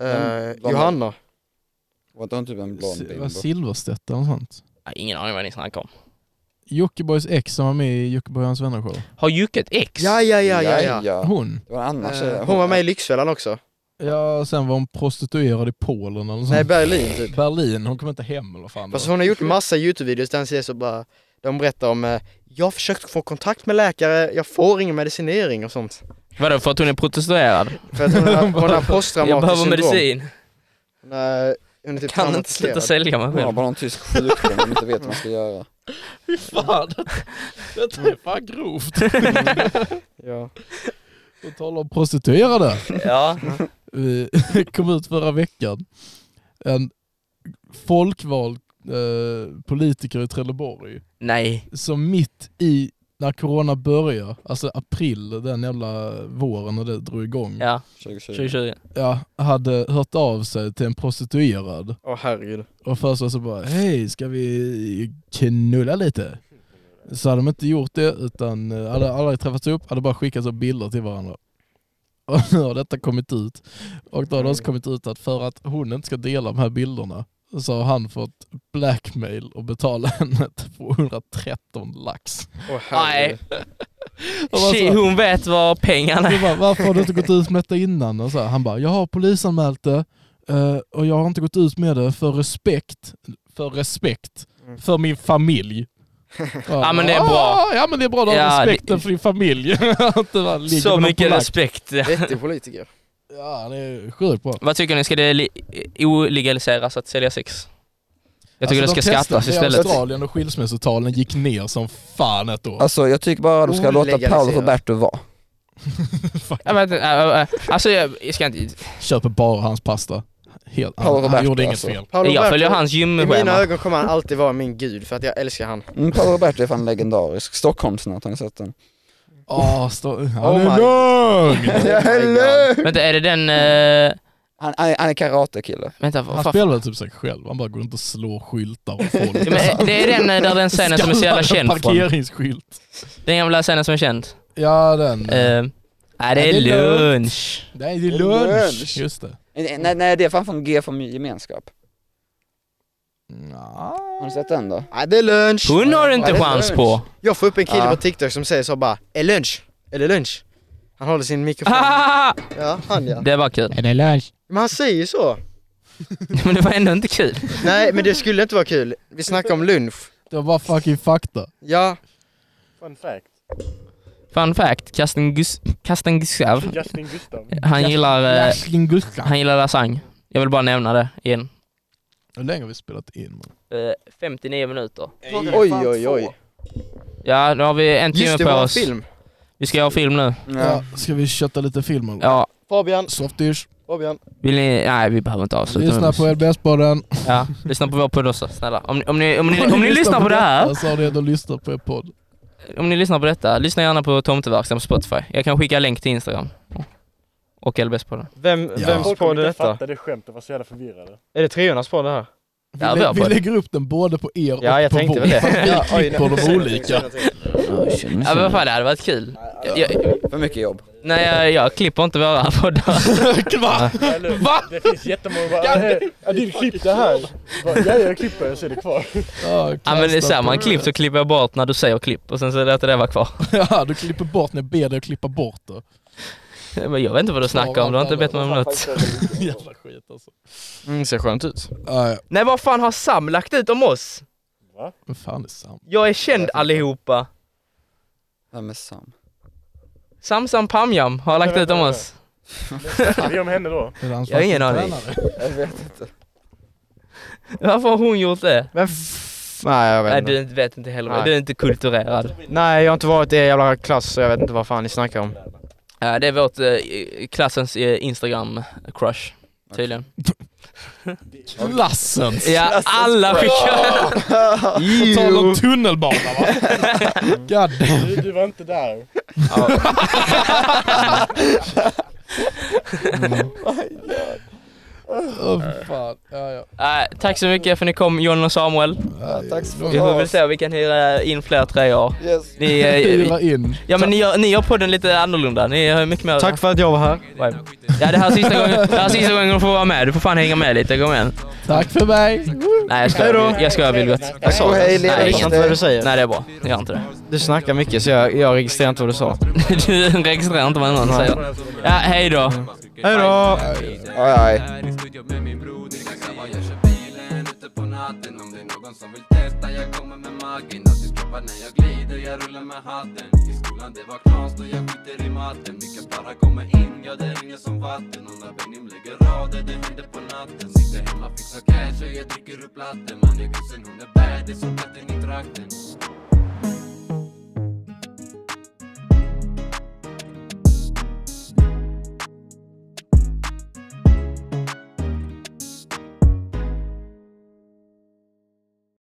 Eh,
vad-
Johanna.
Var det inte typ en blond
Si- var
bimbo?
Silverstedt eller något sånt?
Nej, ingen aning vad ni snackar om.
Jockibois ex som var med i Jockiboi och hans vänner show.
Har Jocke ett ex?
Ja, ja, ja, ja, ja.
Hon?
Det var en annan tjej.
Eh, hon var med i Lyxfällan också.
Ja, sen var hon prostituerad i Polen eller något
Nej,
sånt.
Berlin typ.
Berlin, hon kom inte hem eller vad fan det
Fast
var.
hon har gjort massa Youtube-videos där hon säger så bara, de berättar om eh, jag har försökt få kontakt med läkare, jag får ingen medicinering och sånt.
Vadå, för att hon är protesterad?
För att hon har, hon har
Jag
posttraumatiskt
behöver
syndrom.
medicin.
Hon är, hon är typ
Kan inte
traumatiserad.
sluta sälja mig
Hon har
själv.
bara någon tysk sjukdom och inte vet vad man ska göra.
Fan, detta är fan grovt.
Ja.
På tal om prostituerade.
Ja.
Vi kom ut förra veckan. En folkvald eh, politiker i Trelleborg
Nej.
som mitt i när corona börjar, alltså april, den jävla våren när det drog igång,
Ja,
2020.
2020.
ja, hade hört av sig till en prostituerad
Åh herregud.
och först var så bara hej ska vi knulla lite? Så hade de inte gjort det utan eh, hade aldrig träffats upp, hade bara skickat så bilder till varandra. Och nu har detta kommit ut. Och då har det också kommit ut att för att hon inte ska dela de här bilderna så har han fått blackmail och betala henne 213 lax.
Åh
Nej.
herregud.
Och bara så-
Tji, hon vet var pengarna
Jag
är.
bara, varför har du inte gått ut med detta innan? Och så här, han bara, jag har polisanmält det eh, och jag har inte gått ut med det för respekt, för respekt,
Mm.
för min familj. Ja "Ah,
men det är bra.
Ja men det är bra, du har
Ja,
respekten
det-
för din familj. Att det bara ligger
Så
med någon
mycket
polack.
respekt.
Vettig politiker.
Ja det är sjukt bra.
Vad tycker ni? Ska det li- olegaliseras att sälja sex? Jag tycker
Alltså,
det
de
ska
testade
skattas
det i
istället.
Australien och skilsmässotalen gick ner som fan ett år.
Alltså jag tycker bara du ska låta Paolo
Olegaliserat.
Roberto vara.
Fuck.
Jag vet, inte, äh, äh, alltså jag, jag ska inte...
Köper bara hans pasta. Helt,
Paolo
han, han
Roberto,
gjorde inget
alltså.
fel.
Paolo
Jag
Roberto,
följer hans
I mina
gymschema.
ögon kommer han alltid vara min gud för att jag älskar han.
Mm, Paolo Roberto är fan legendarisk. Stockholmsnatt, har ni sett den?
Åh, Ah, stå, han
Oh
är
my-
lugn!
Ja, hello!
Vänta, är det den... äh,
Han, han, är- han är karatekille.
vänta, vad
Han
fan?
spelar väl typ sig själv, han bara går runt och slår skyltar och folk.
Ja, men, äh, det är den äh, där den scenen som är så jävla känd från.
Parkeringsskylt.
Den jävla scenen som är känd.
Ja den.
Äh, Nej, det är
det är lugnt.
lunch.
Nej det är
det är
lunch.
lunch.
Just det.
Nej, nej, nej Eh, det är fan från G från gemenskap.
Nja.
Har ni sett den då?
Nej det är lunch!
Hon har du
Ja,
inte
det är
chans
lunch.
på.
Jag får upp en kille
Ja.
på TikTok som säger så bara Är lunch? Är det lunch? Han håller sin mikrofon.
Ah!
Ja, han ja.
Det var kul.
Är det lunch?
Men han säger ju så.
Men det var ändå inte kul.
Nej men det skulle inte vara kul. Vi snackar om lunch.
Det var bara fucking
Eh,
fakta.
Ja,
Fun fact.
Fun fact, Kasten, Gus- Kasten Gustav,
Justin Gustav.
han gillar, eh,
Jasling Gustav.
han gillar lasagne. Jag vill bara nämna det igen.
Hur länge har vi spelat in? Man?
Eh, 59 minuter.
oj oj oj.
Ja, nu har vi en timme
Just det,
på
var
oss.
film.
Vi ska göra film nu.
Ja.
Ja. Ska vi kötta lite film eller?
Ja,
Fabian,
Softish.
Fabian.
vill ni? Nej, vi behöver inte avsluta.
Lyssna på LBS-podden.
Ja, lyssna på vår podd också, snälla. Om, ni- om, ni, om, ni, om ni lyssnar på det
detta
här,
Så har ni ändå lyssnat på er podd.
om ni lyssnar på detta, lyssna gärna på Tomteverkstan på Spotify. Jag kan skicka länk till Instagram. Och LBS på den.
Vem,
Ja.
vems
Folk kommer
podd är
inte
detta?
fatta det skämtet, var så jävla förvirrade.
Är det treornas podd det här?
Vi,
Ja, vi
lä-
har
vi
podd.
lägger upp den både på er
Ja,
och
jag
på
tänkte
vår.
väl det.
Fast vi klipper dem olika.
Ja, men vad fan, det hade varit kul. Jag, jag,
För mycket jobb.
Nej jag, jag klipper inte våra poddar.
Va? Va?
Det finns jättemånga bara, "Eh, Adil klipp det här. Bara, Ja, jag klipper och så är det kvar.
Ja,
Ja men det är
kasta
samma
på-
klipp så klipper jag bort när du säger klipp och sen så låter det vara kvar.
Ja, du klipper bort när jag ber dig att klippa bort det.
Men jag vet inte vad du snackar om, du har inte bett mig om något.
Jävla skit alltså.
Mm, ser skönt ut.
Nej,
Nej vad fan har Sam lagt ut om oss?
men fan det är sant.
Jag är känd allihopa.
Vem är Sam?
Sam Sam Pamjam har lagt ut om oss.
Är vi om henne då?
Är det hans
Jag har ingen
fasta
aning.
tränare?
Varför har hon gjort det?
Men f- Nej jag vet
Nej
inte.
du inte- vet inte heller,
Nej.
du är inte kulturerad.
Nej jag har inte varit i er jävla klass så jag vet inte vad fan ni snackar om.
Ja, det är vårt, eh, klassens eh, Instagram-crush. Tydligen.
Klassens!
Ja, alla skickar...
På tal om tunnelbana va? God damn.
Du, du var inte där.
Oh, fan. Ja, ja.
Nej, Eh, tack så mycket för att ni kom John och Samuel.
tack så
Vi får väl se om vi kan hyra in fler tröjor.
Yes.
Ni, eh,
Hyra in.
ja men ni gör, ni gör podden lite annorlunda, ni har mycket mer
Tack för att jag var här.
vibe. Ja det här är sista gången, det här är sista gången du får vara med, du får fan hänga med lite, kom igen.
Tack för mig.
Nej jag skojar, jag skojar Vilgot.
Jag sa
Hej,
det.
leva
Nej, jag
livet.
lyssnar inte vad du säger.
Nej det är bra, jag gör inte det.
Du snackar mycket så jag, jag registrerar inte vad du sa.
Du registrerar inte vad någon säger. Ja, hej då.
Hej då!
Aj, aj.
Här i studion med min bror, det kan grabbar jag kör bilen ute på natten Om det är någon som vill testa, jag kommer med magen Alltid droppar när jag glider, jag rullar med hatten I skolan det var knas då jag skiter i matten Mycket bara kommer in, ja det ringer som vatten Och när Benim lägger rader, det händer på natten Sitter hemma, fixar cash och jag dricker upp latten Man är kusin, hon är bad, det är soldaten i trakten